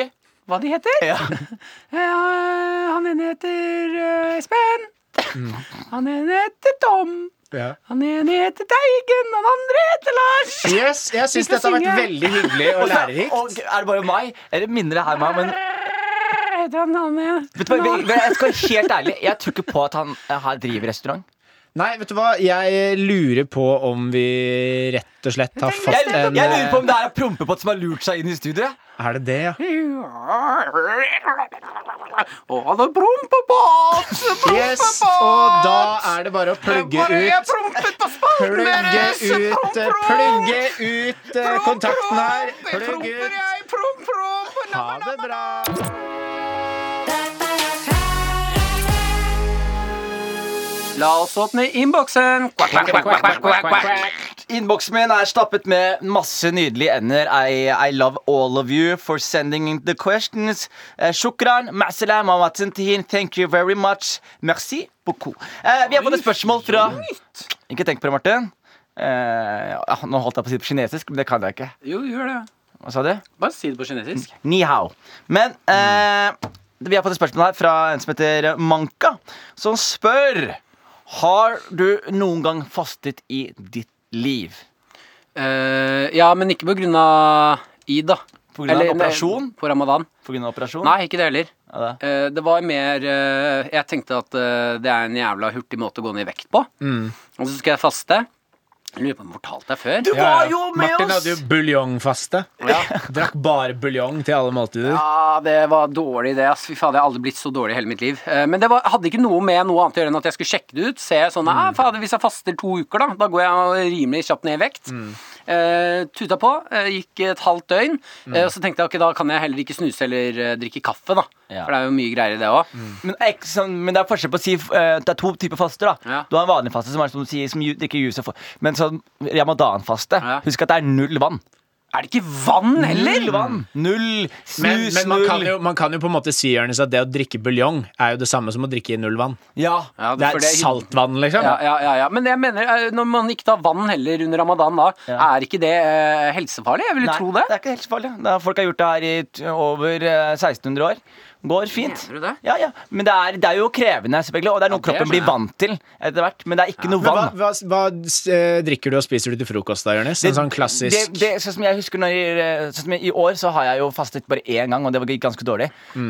A: hva de heter?
D: Ja.
A: Eh, han ene heter eh, Espen. Han ene heter Tom.
E: ja.
A: Han ene heter Teigen. Han andre heter Lars.
E: Yes, jeg syns
A: Ikke
E: dette har vært
A: synge.
E: veldig hyggelig og
D: Og så-
E: lærerikt.
D: og er det bare meg? Eller minner det her meg om en
A: Heter han, han ene.
D: Vet du hva, vi- vi- jeg skal være helt ærlig, jeg tror ikke på at han eh, her driver restaurant.
E: Nei, vet du hva? Jeg lurer på om vi rett og slett har
D: Jeg,
E: fått en eh,
D: jeg lurer på om Mm. det er prompepott som har lurt seg inn i studiet.
E: Er det det, ja?
C: Å, det er prompebåt!
E: Yes, og da er det bare å plugge
C: Jeg
E: ut
C: prompet på spalten
E: Plugge
C: deres!
E: ut, eh,
C: Promp, promp!
E: plugge ut eh, kontakten her.
C: Promp, promp,
E: Plugg
C: promper
E: ut.
C: jeg, promp, promp,
E: Ha det bra.
C: La oss åpne innboksen. Kvakk, kvakk, kvakk, kvakk, kvakk, kvakk.
D: Innboksen min er stappet med masse nydelige ender. I, I love all of you for sending the questions. Eh, Shukran, ma'salam, wa tantihin. Thank you very much. Merci beaucoup. Eh, vi har fått et spørsmål fra Ikke tenk på det, Martin. Eh, ja, nå holdt jeg på å si det på kinesisk, men det kan jeg ikke.
C: Jo, gjør det.
D: Hva sa du?
C: Bare si det på kinesisk.
D: Ni hao. Men eh, vi har fått et spørsmål her fra en som heter Manka, som spør Har du noen gang fastet i ditt liv.
C: Eh, ja, men ikke på grunn av id, da.
D: På grunn av en
C: Eller, nei,
D: operasjon?
C: På ramadan.
D: På grunn av operasjon?
C: Nei, ikke det heller.
D: Ja, det.
C: Eh, det var mer eh, Jeg tenkte at eh, det er en jævla hurtig måte å gå ned i vekt på.
D: Mm.
C: Og så skal jeg faste. Jeg lurer på om jeg fortalte deg før.
D: Du var jo med
E: Martin
D: oss!
E: hadde jo buljongfaste. Drakk bare buljong til alle måltider.
C: Ja, det var dårlig det, ass. Fy faen, jeg har aldri blitt så dårlig i hele mitt liv. Eh, Men det var, hadde ikke noe med noe annet å gjøre enn at jeg skulle sjekke det ut. Se sånn,
D: Mm.
C: ah, fader, hvis jeg faster to uker, da, da går jeg rimelig kjapt ned i vekt.
D: Mm.
C: Eh, tuta på, eh, gikk et halvt døgn.
D: Mm.
C: eh, og så tenkte jeg ok, da kan jeg heller ikke snuse eller eh, drikke kaffe, da.
D: Ja.
C: For det er jo mye greier i det òg.
D: Men, ek, sånn, men det er forskjell på å si eh, Det er to typer faster. da
C: Ja.
D: Du har en vanlig faste, som er som du sier Som ju- drikker juice og får. Men sånn ramadan-faste
C: Ja.
D: Husk at det er null vann.
C: Er det ikke vann heller?
D: Null vann! Null snus,
E: Men, men man,
D: null
E: kan jo, man kan jo på en måte si Jørnes, at det å drikke buljong er jo det samme som å drikke i null vann.
D: Ja.
C: Ja,
E: Det
C: for
E: er saltvann, liksom.
C: Ja, ja, ja, ja. Men jeg mener, eh, når man ikke tar vann heller under ramadan, da,
D: Ja.
C: er ikke det eh, helsefarlig? Jeg ville
D: Nei,
C: tro det.
D: er ikke helt så farlig. Da, folk har gjort det her i t- over eh, 1600 år. Går fint.
C: Mener du det?
D: Ja, ja. Men det er, det er jo krevende, selvfølgelig. Og det er noe
C: det
D: kroppen
C: skjønner
D: blir
C: jeg.
D: vant til etter hvert. Men det er ikke noe
E: Men hva,
D: vann.
E: hva, hva eh, drikker du og spiser du til frokost da, Jørnes? En sånn klassisk
D: det, det, Sånn som jeg husker når, jeg- sånn som jeg, I år så har jeg jo fastet bare én gang, og det gikk ganske dårlig.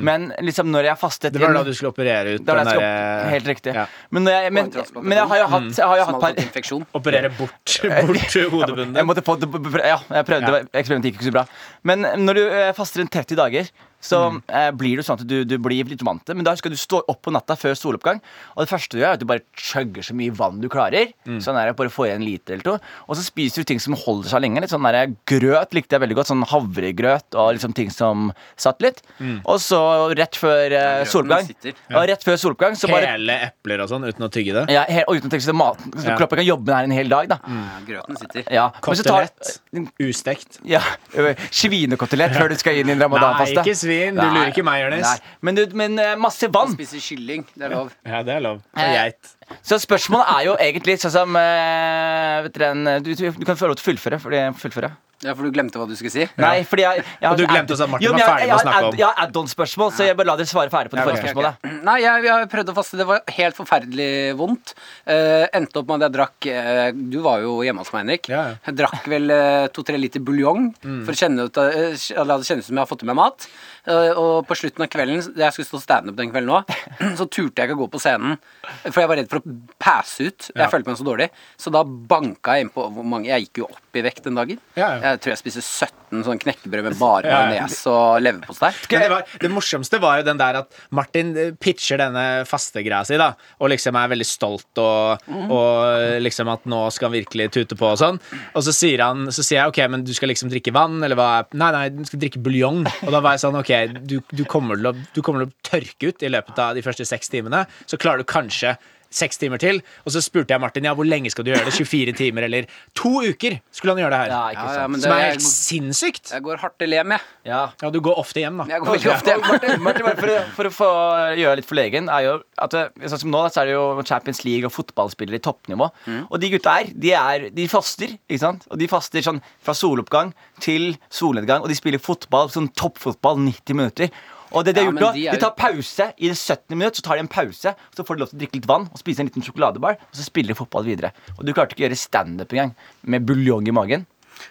D: Men liksom når jeg fastet
E: Mm. Det var
D: en-
E: da du skulle operere ut
D: det var da
E: den
D: jeg skulle
E: derre-
D: opp- Helt riktig.
E: Ja. Mm.
D: Men, når jeg, men, men jeg har jo hatt, jeg har jo hatt
C: Smalt
D: par,
C: infeksjon.
E: Operere bort, bort hodebunnen
D: jeg måtte få det, Ja, jeg prøvde, eksperimentet gikk ikke så bra. Men når du eh, faster en 30 dager, så eh, blir det sånn at du, du blir litt vant til det. Men da skal du stå opp på natta før soloppgang, og det første du gjør, er at du bare chugger så mye vann du klarer. Sånn der, bare få igjen en liter eller to. Og så spiser du ting som holder seg lenge. Litt sånn der, grøt likte jeg veldig godt. Sånn havregrøt og liksom ting som satt litt. Og så rett før eh, soloppgang
C: sitter.
D: ja, rett før soloppgang så bare
E: Hele epler og sånn uten å tygge det.
D: ja, he- og uten å tenke seg til maten. Så
E: Ja.
D: Kroppen kan jobbe med det her en hel dag. da
C: Ja, grøten sitter.
D: Mm. ja. men så tar-
E: Kotelett. Ustekt.
D: Ja, ø, Svinekotelett før du skal inn i en
E: Nei,
D: ramadanfaste.
E: ikke svin. Du lurer ikke meg, Jonis.
D: Nei, Men, du, men eh, masse vann.
C: Spiser kylling. Det er lov.
E: Ja, det er lov. Det er
D: Eh,
E: Geit.
D: Så spørsmålet er jo egentlig sånn som eh, vet dere, en- du, du kan få lov til å fullføre. Fordi, fullføre.
C: Ja, for du glemte hva du skulle si.
D: Nei, fordi jeg, jeg har
E: Og du
D: et add-
E: glemte også at Martin
D: Jo, men
E: var
D: jeg-
E: ferdig
D: jeg
E: med å
D: har et
E: snakke
D: add-
E: om.
D: Jeg har add-on-spørsmål, så jeg bare la dere svare ferdig på det
E: Ja,
D: forrige
E: ok,
D: spørsmålet.
C: Nei, jeg, jeg prøvde å faste. Det var helt forferdelig vondt. Eh, endte opp med at jeg drakk eh, Du var jo hjemme hos meg, Henrik.
E: Ja, Mm. ja.
C: Jeg drakk vel eh, to-tre liter buljong for å kjenne ut, eh, la det kjennes ut som jeg har fått i meg mat. Eh, og på slutten av kvelden Jeg skulle stå standup den kvelden òg. Så turte jeg ikke å gå på scenen, for jeg var redd for å passe ut. Jeg
E: Ja.
C: følte meg så dårlig. Så da banka jeg innpå hvor mange Jeg gikk jo opp i vekt den dagen.
E: Ja, ja.
C: Jeg tror jeg spiste 17 sånn knekkebrød med bare
E: Ja, ja.
C: majones og leverpostei.
E: Men det, var, det morsomste var jo den der at Martin eh, pitcher denne fastegreia si, da, og liksom er veldig stolt og, og liksom at nå skal han virkelig tute på og sånn. Og så sier han Så sier jeg OK, men du skal liksom drikke vann, eller hva er Nei, nei, du skal drikke buljong. Og da var jeg sånn OK, du, du, kommer til å, du kommer til å tørke ut i løpet av de første seks timene, så klarer du kanskje Seks timer til, og så spurte jeg Martin ja, hvor lenge skal du gjøre det. 24 timer eller to uker skulle han gjøre det her.
D: Ja, ikke
C: Ja, ja,
D: sant.
C: men det,
E: Som er helt
C: jeg,
E: sinnssykt.
C: jeg går hardt til lem, jeg.
D: Ja.
E: Ja, du går ofte hjem, da.
C: Jeg går ikke ofte
D: Og Martin, Martin, bare for, å- for å få eh, gjøre litt forlegen er jo at eh, Sånn som nå da, så er det jo Champions League og fotballspillere i toppnivå.
C: Mm.
D: Og de gutta her, de, er, de faster. ikke sant? Og de faster sånn fra soloppgang til solnedgang, og de spiller fotball, sånn toppfotball, 90 minutter. Og det De har
C: Ja,
D: gjort
C: men
D: nå,
C: de
D: de,
C: er jo-
D: tar pause i det 17. minutt, så tar de en pause, så får de lov til å drikke litt vann og spise en liten sjokoladebar, og så spiller de fotball videre. Og du klarte ikke å gjøre standup engang, med buljong i magen.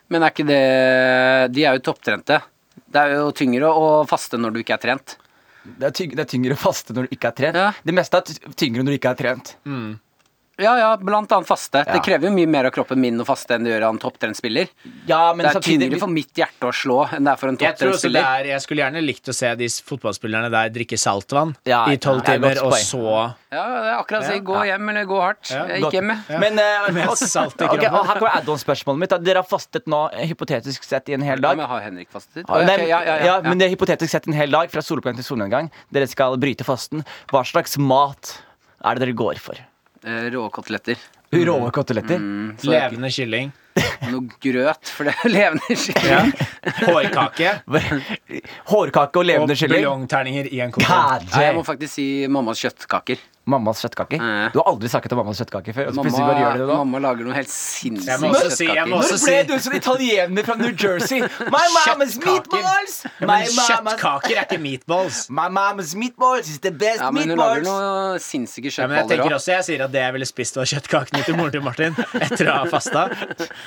C: Men er ikke det De er jo topptrente. Det er jo tyngre å faste når du ikke er trent.
D: Det er, tyng, det er tyngre å faste når du ikke er trent.
C: Ja. Mm.
D: Det meste er ty- tyngre når du ikke er trent.
C: Ja, ja, blant annet faste. Det
D: Ja.
C: krever jo mye mer av kroppen min å faste enn det gjør av en topptrent spiller.
D: Ja, men
C: Det er
D: samtidig
C: tyngre for mitt hjerte å slå enn det er for en
E: Jeg, tror
C: topptrent
E: også det
C: spiller.
E: er, jeg skulle gjerne likt å se de s- fotballspillerne der drikke saltvann
D: Ja,
E: i tolv
D: det er et godt
E: timer, og
D: poeng.
E: så
C: Ja, det er akkurat å si gå hjem eller gå hardt.
E: Ja.
C: Jeg gikk hjem, jeg.
D: Men, eh,
E: Med salt i
D: ok,
E: kroppen.
D: og her kommer add-on-spørsmålet mitt. da. Dere har fastet nå eh, hypotetisk sett i en hel
C: Da
D: dag.
C: må jeg ha Henrik fastet. Å,
D: Nei,
C: ja, ok, ja, ja, ja,
D: men
C: ja.
D: det er hypotetisk sett en hel dag fra soloppgang til solnedgang. Dere skal bryte fasten. Hva slags mat er det dere går for?
C: Eh, Rå koteletter.
D: Rå koteletter?
C: Mm.
E: levende kylling.
C: Noe grøt, for det er levende kylling.
E: Hårkake
D: Hårkake og
E: og
D: levende kylling?
E: buljongterninger i en kokong.
C: Nei, jeg må
D: Herre!
C: faktisk si mammas kjøttkaker.
D: Mammas kjøttkaker?
C: Mm.
D: Du har aldri snakket om mammas kjøttkaker før. Og så plutselig bare
C: Mamma,
D: gjør du det nå.
C: mamma lager noe helt
E: Jeg
C: sinnssykt
E: må også si- jeg må
D: Når ble
E: også si-
D: du sånn italiener fra New Jersey? My mama's
E: Kjøttkaker.
D: meatballs! My
E: Ja, men
D: mama's,
E: kjøttkaker er ikke meatballs.
D: my mama's meatballs is the best
C: Ja, men hun lager
D: meatballs!
C: noe sinnssyke
E: Ja, men jeg
C: kjøttballer
E: tenker
C: òg.
E: også jeg sier at det jeg ville spist, var kjøttkakene til moren til Martin etter å ha fasta.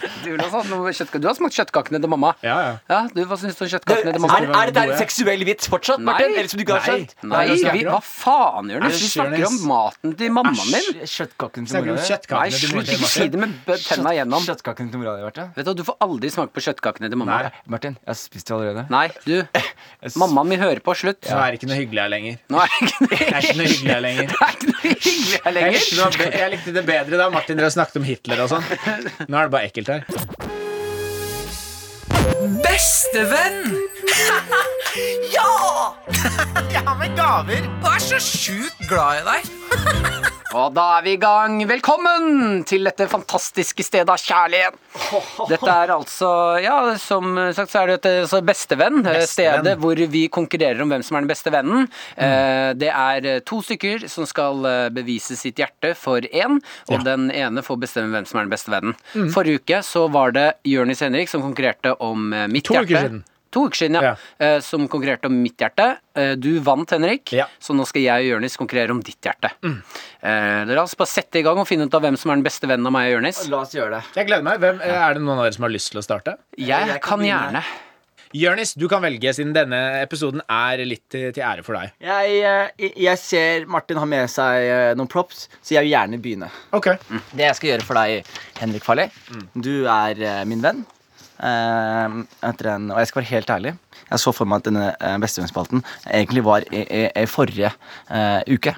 C: Du, vil også ha sånn noe kjøttka- du har smakt kjøttkakene til mamma.
E: Ja, ja.
C: du, Hva syns du om
D: Er,
C: kjøttkakene til mamma?
E: det
D: er det der
E: gode.
D: en seksuell vits fortsatt,
C: Nei.
D: Martin? Eller som du ikke har
E: Nei.
D: skjønt?
C: Nei,
E: Hva er det du
C: vi,
E: snakker om?
C: hva faen gjør du?
E: Æsj,
C: Vi snakker om
E: Jonis.
C: maten til mammaen min.
D: Kjøttkaken til
E: Snakker
D: mora di.
E: om
C: Nei,
E: kjøttkakene til moren
C: slutt. Ikke
E: til
C: si
E: Martin.
C: det med bø- tenna igjennom.
D: Kjøttkaken til mora di, Martin.
C: Vet Du hva, du får aldri smake på kjøttkakene til mamma.
E: Nei.
D: Martin, jeg har spist det allerede.
C: Nei, du. Mammaen min hører på. Slutt.
E: Nå er det ikke noe hyggelig her lenger.
C: Nå er det ikke
E: Det er ikke noe hyggelig her lenger.
C: det er ikke noe hyggelig her
E: Jeg
C: lenger.
E: likte, noe, be- jeg likte det bedre da Martin dere snakket om Hitler og sånn. Nå er det bare ekkelt her.
B: Bestevenn!
F: Jeg har med gaver.
B: Og er så sjukt glad i deg.
C: Og da er vi i gang. Velkommen til dette fantastiske stedet av kjærlighet. Dette er altså, ja, som sagt så er det et altså, bestevenn. eh,
E: Bestevenn. Mm.
C: Stedet hvor vi konkurrerer om hvem som er den beste vennen. Eh, Det er eh, to stykker som skal eh, bevise sitt hjerte for én, og den ene får bestemme hvem som er den beste vennen.
E: Mm.
C: Forrige uke så var det Jørnis Henrik som konkurrerte om eh, mitt
E: To
C: hjerte.
E: uker siden.
C: To uker siden, ja. Eh, Som konkurrerte om mitt hjerte. Eh, Du vant, Henrik.
E: Ja.
C: Så nå skal jeg og Jørnis konkurrere om ditt hjerte.
D: Mm.
C: Eh, La oss bare sette i gang og finne ut av hvem som er den beste vennen av meg og Jørnis.
D: La oss gjøre det.
E: Jeg gleder meg. Hvem, er det noen av dere som har lyst til å starte?
C: Jeg
D: jeg kan
C: kan
D: begynne.
C: gjerne.
E: Jørnis, du kan velge, siden denne episoden er litt til, til ære for deg.
D: Jeg, eh, jeg ser Martin har med seg eh, noen props, så jeg vil gjerne begynne.
E: Ok Mm.
D: Det jeg skal gjøre for deg, Henrik Farley, du er eh, min venn. eh, etter en, og jeg skal være helt ærlig, jeg så for meg at denne eh, Bestevennsspalten egentlig var i, i, i forrige eh, uke.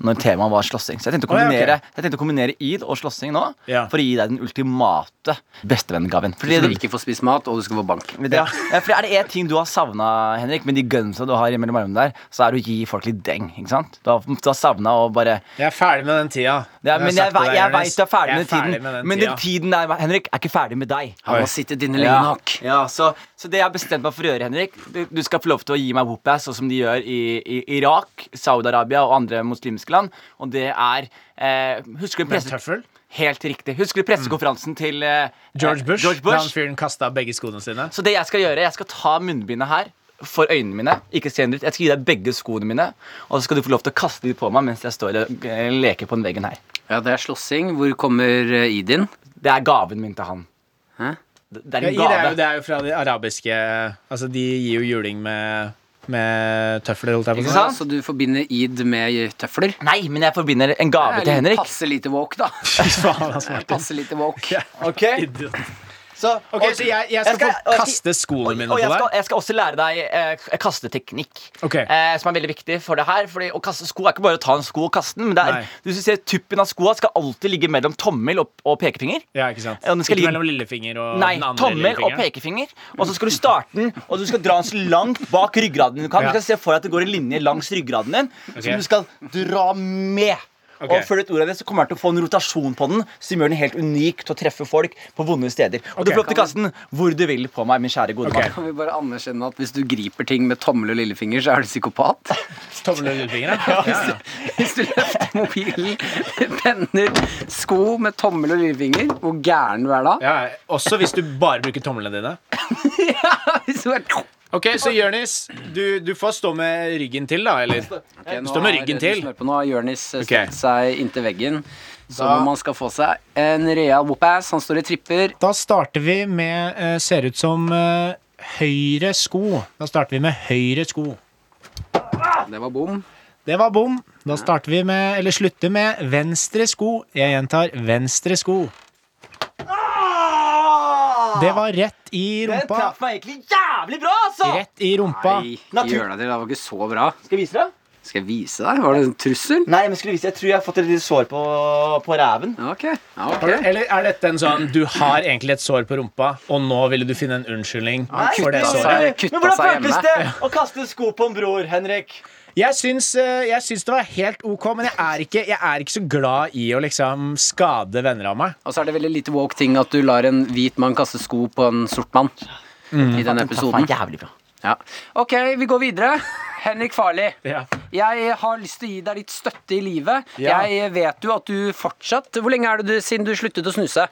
D: Når temaet var slåssing. Så jeg tenkte å
E: Å, ja, ok.
D: kombinere, jeg tenkte å kombinere id og slåssing nå.
E: Ja.
D: For å gi deg den ultimate bestevenngaven. Fordi
C: Så
D: det,
C: du ikke får spist mat, og du skal få bank.
D: ja. for er det én ting du har savna, Henrik, med de gunsa du har mellom armene der, så er det å gi folk litt deng. ikke sant? Du har, du har savna å bare
E: Jeg er ferdig med den tida.
D: ja,
E: har
D: Men jeg, jeg,
E: sagt til deg,
D: jeg
E: Jonis.
D: veit du er ferdig
E: Jeg
D: med tiden,
E: ferdig med den
D: men den
E: tida.
D: tiden der, Henrik, er ikke ferdig med deg.
C: Han må sitte inne lenge
D: Ja,
C: nok.
D: ja så, så det jeg har bestemt meg for å gjøre, Henrik Du, du skal få lov til å gi meg whoop-ass, sånn som de gjør i, i Irak, Saudi-Arabia og andre muslimske land. Og det er eh, Husker du
E: Med
D: presse...
E: tøffel. Mm.
D: Helt riktig. Husker du pressekonferansen til eh,
E: George
D: eh,
E: Bush.
D: George
E: Da han
D: Bush?
E: fyren kasta begge skoene sine.
D: Så det jeg skal gjøre, jeg skal ta munnbindet her for øynene mine. Ikke se den ut. Jeg skal gi deg begge skoene mine, og så skal du få lov til å kaste de på meg mens jeg står og eh, leker på den veggen her.
C: Ja, det er slåssing. Hvor kommer eh, Idin?
D: Det er gaven min til han.
C: Hæ?
D: Det det er
E: Ja,
D: en
E: i det, er jo,
D: gave.
E: det er jo fra de arabiske Altså, de gir jo juling med, med tøfler, holdt jeg på å
D: Ikke
E: si.
D: sant?
C: Ja, så du forbinder Id med tøfler?
D: Nei, men jeg forbinder en gave til Henrik.
C: Passe lite woke, da.
E: Fy faen, altså, Martin.
C: Passe lite woke.
D: Ok, så,
E: Ok, så jeg, jeg skal få kaste skoene mine
D: og jeg
E: på
D: skal,
E: deg?
D: jeg skal også lære deg eh, kasteteknikk,
E: Ok.
D: eh, som er veldig viktig for det her. Fordi å kaste sko er ikke bare å ta en sko og kaste den. Men det
E: Nei.
D: er, du ser Tuppen av skoa skal alltid ligge mellom tommel og, og pekefinger.
E: Ja, ikke sant?
D: Ja, den skal
E: Ikke
D: ligge-
E: mellom lillefinger og
D: Nei,
E: den andre
D: tommel og
E: lillefingeren.
D: pekefinger. Og så skal du starte den, og du skal dra den så langt bak ryggraden du kan.
E: Ja.
D: Du skal se for deg at det går en linje langs ryggraden din
E: Ok.
D: som du skal dra med.
E: Ok.
D: Og før du vet ordet av det, så kommer den til å få en rotasjon på den som gjør den helt unik til å treffe folk på vonde steder. Og du får
E: Ok.
D: lov til å kaste den hvor du vil på meg, min kjære gode
E: Ok.
D: mann.
C: Kan vi bare anerkjenne at hvis du griper ting med tommel og lillefinger, så er du psykopat?
E: Tommel og lillefinger, ja. ja, ja.
C: Hvis du løfter mobilen, penner, sko med tommel og lillefinger, hvor gæren du er da?
E: ja. Også hvis du bare bruker tomlene dine.
C: Hvis du er
E: Ok, Så Jonis, du, du får stå med ryggen til, da, eller?
C: Ok, nå
E: Stå Eh, med
C: har-
E: ryggen
C: du
E: til.
C: smør på, Nå har Jonis eh,
E: Ok.
C: støtt seg inntil veggen, som om han skal få seg en real whoop-ass. Han står i tripper.
E: Da starter vi med eh, Ser ut som eh, høyre sko. Da starter vi med høyre sko.
C: Det var bom.
E: Det var bom. Da starter vi med, eller slutter med, venstre sko. Jeg gjentar venstre sko.
D: Ah!
E: Det var rett i
D: Den
E: rumpa.
D: traff meg egentlig jævlig bra, altså!
E: Rett i rumpa.
C: Nei,
D: Natur-
C: gjør deg til. Det var ikke så bra.
D: Skal jeg vise deg?
C: Skal jeg vise deg? Var det en trussel?
D: Nei, men skulle jeg vise Jeg tror jeg har fått et lite sår på, på ræven.
C: Ja, Ok. Ja, ok.
E: Har du- Eller er dette en sånn du har egentlig et sår på rumpa, og nå ville du finne en unnskyldning for det
C: kutta
E: såret?
C: seg.
D: Men
C: Kutta
D: hvordan
C: seg
D: føltes
C: hjemme.
D: det å kaste sko på en bror, Henrik?
E: Jeg syns, eh, jeg syns det var helt OK, men jeg er, ikke, jeg er ikke så glad i å liksom skade venner av meg.
C: Og så er det veldig lite woke ting at du lar en hvit mann kaste sko på en sort mann.
E: Mm.
C: I denne episoden.
D: jævlig bra.
C: Ja. Ok, vi går videre. Henrik Farli.
E: Ja.
C: Jeg har lyst til å gi deg litt støtte i livet.
E: Ja.
C: Jeg vet jo at du fortsatt Hvor lenge er det du, siden du sluttet å snuse?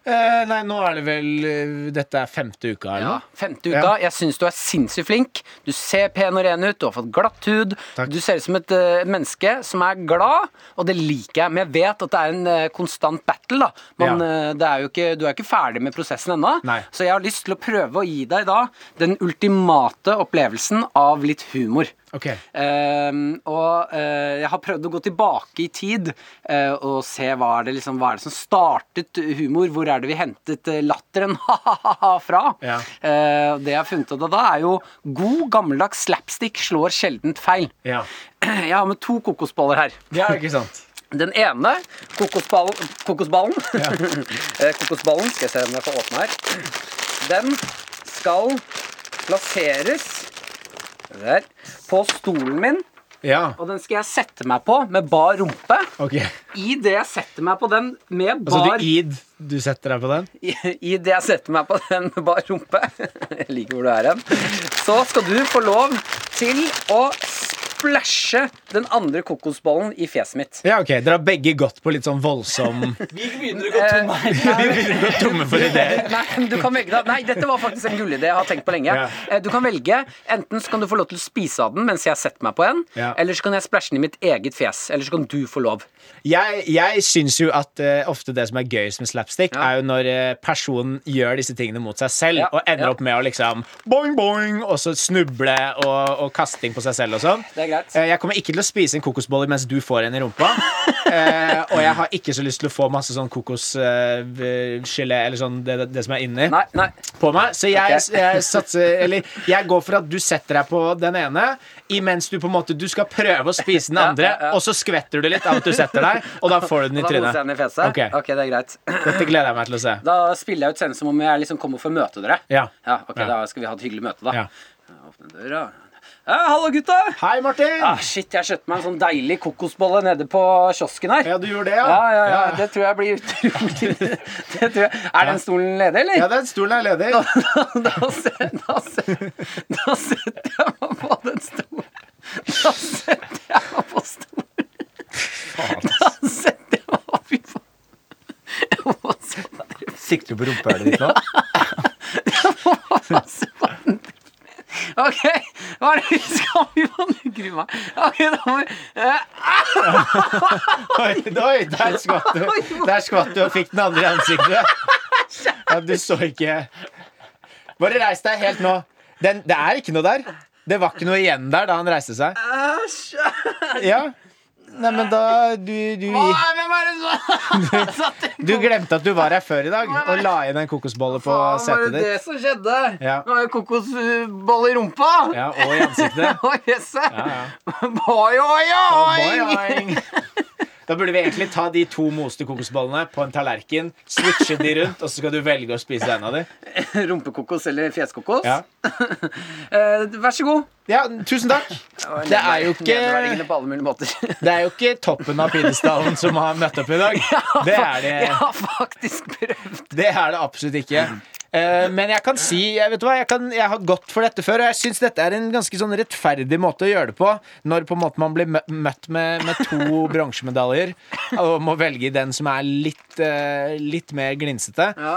E: Eh, nei, nå er det vel eh, Dette er femte uka, eller? noe?
C: Femte
E: Ja.
C: uka. Jeg syns du er sinnssykt flink. Du ser pen og ren ut. Du har fått glatt hud.
E: Takk.
C: Du ser ut som et eh, menneske som er glad, og det liker jeg. Men jeg vet at det er en eh, konstant battle. da. Man,
E: Ja.
C: eh, det er jo ikke, du er ikke ferdig med prosessen ennå.
E: Nei.
C: Så jeg har lyst til å prøve å gi deg da den ultimate opplevelsen av litt humor.
E: Ok.
C: Ehm, og eh, jeg har prøvd å gå tilbake i tid eh, og se hva er, det liksom, hva er det som startet humor. Hvor er det vi hentet eh, latteren fra?
E: Ja.
C: Eh, det jeg har funnet ut av da, er jo god, gammeldags slapstick slår sjeldent feil.
E: Ja.
C: Jeg har med to kokosboller her.
E: Det er ikke sant.
C: Den ene kokosballen Kokosballen. Eh, kokosballen skal jeg se om jeg får åpne her. Den skal plasseres der, på stolen min.
E: Ja.
C: Og den skal jeg sette meg på med bar rumpe.
E: Ok.
C: I det jeg setter meg på den med
E: Altså,
C: bar
E: du id, du setter deg på den?
C: i, I det jeg setter meg på den med bar rumpe Jeg liker hvor du er hen. Så skal du få lov til å splæsje den andre kokosbollen i fjeset mitt.
E: Ja, ok. Dere har begge gått på litt sånn voldsom
D: Vi begynner å gå tom her.
E: Tomme for ideer.
C: Nei, men du kan velge da. Nei, dette var faktisk en gullidé jeg har tenkt på lenge.
E: Ja.
C: Eh, Du kan velge, Enten så kan du få lov til å spise av den mens jeg setter meg på en,
E: Ja.
C: eller så kan jeg splæsje den i mitt eget fjes. Eller så kan du få lov.
E: Jeg, jeg syns jo at eh, ofte det som er gøyest med slapstick,
C: Ja.
E: er jo når eh, personen gjør disse tingene mot seg selv
C: Ja,
E: og ender
C: ja.
E: opp med å liksom boing, boing, og så snuble og, og kasting på seg selv og sånn.
C: Det er greit.
E: Eh, jeg kommer ikke til til å spise en kokosbolle mens du får en i rumpa. Eh, og jeg har ikke så lyst til å få masse sånn kokosgelé, eller sånn det, det som er inni,
C: Nei, nei.
E: på meg. Så jeg,
C: Ok.
E: jeg satser Eller jeg går for at du setter deg på den ene, imens du på en måte Du skal prøve å spise den
C: Ja,
E: andre,
C: ja, ja.
E: og så skvetter du litt av at du setter deg, og da får du den i
C: Da moser jeg den i
E: trynet.
C: fjeset.
E: Ok.
C: ok, det er greit.
E: Dette gleder jeg meg til å se.
C: Da spiller jeg ut scenen som om jeg liksom kommer for å møte dere.
E: Ja.
C: ok,
E: Ja.
C: Da skal vi ha et hyggelig møte, da.
E: Ja.
C: Åpne døra. Ja, hallo, gutta!
E: Hei, Martin!
C: Ah, shit, jeg kjøpte meg en sånn deilig kokosbolle nede på kiosken her.
E: Ja, du gjorde det, ja?
C: Ja, ja, ja, det tror jeg blir utrolig det tror jeg. Er den stolen ledig, eller?
E: Ja, den stolen er ledig.
C: da, da, se- da, se- da setter jeg meg på den stolen. Da setter jeg meg på stolen. Da setter jeg meg opp i faen. Jeg må se
D: Sikter du på rumpehullet ditt nå?
C: masse på den bilen. OK, hva er det vi skal vi må grue meg. OK, da må vi eh,
E: Oi, oi, der skvatt du. Der skvatt du og fikk den andre i ansiktet. Ja, du så ikke Bare reis deg helt nå. Den, det er ikke noe der. Det var ikke noe igjen der da han reiste seg. Ja. Nei, men da Du, du,
C: Nei, hvem er det som
E: du glemte at du var her før i dag og la igjen en kokosbolle på
C: Var
E: setet
C: det det
E: ditt.
C: som skjedde?
E: Ja.
C: Det var jo kokosbolle i rumpa.
E: Ja, og i ansiktet.
C: Og gresset.
E: Ja, ja.
C: Boy, oi,
E: Boing,
C: oi!
E: boing. Da burde vi egentlig ta de to moste kokosbollene på en tallerken, switche de rundt, og så skal du velge å spise en av dem.
C: Rumpekokos eller fjeskokos?
E: Ja.
C: Eh, vær så god.
E: Ja, tusen takk. Det er jo ikke,
C: Nedverdigende på alle mulige måter.
E: det er jo ikke toppen av pidestallen som har møtt opp i dag. Det er det,
C: Jeg har faktisk prøvd.
E: det, er det absolutt ikke. Eh, men jeg kan si jeg, vet du hva, jeg, kan, jeg har gått for dette før, og jeg syns dette er en ganske sånn rettferdig måte å gjøre det på. Når på en måte man blir mø- møtt med, med to bronsemedaljer og må velge den som er litt, eh, litt mer glinsete.
C: Ja.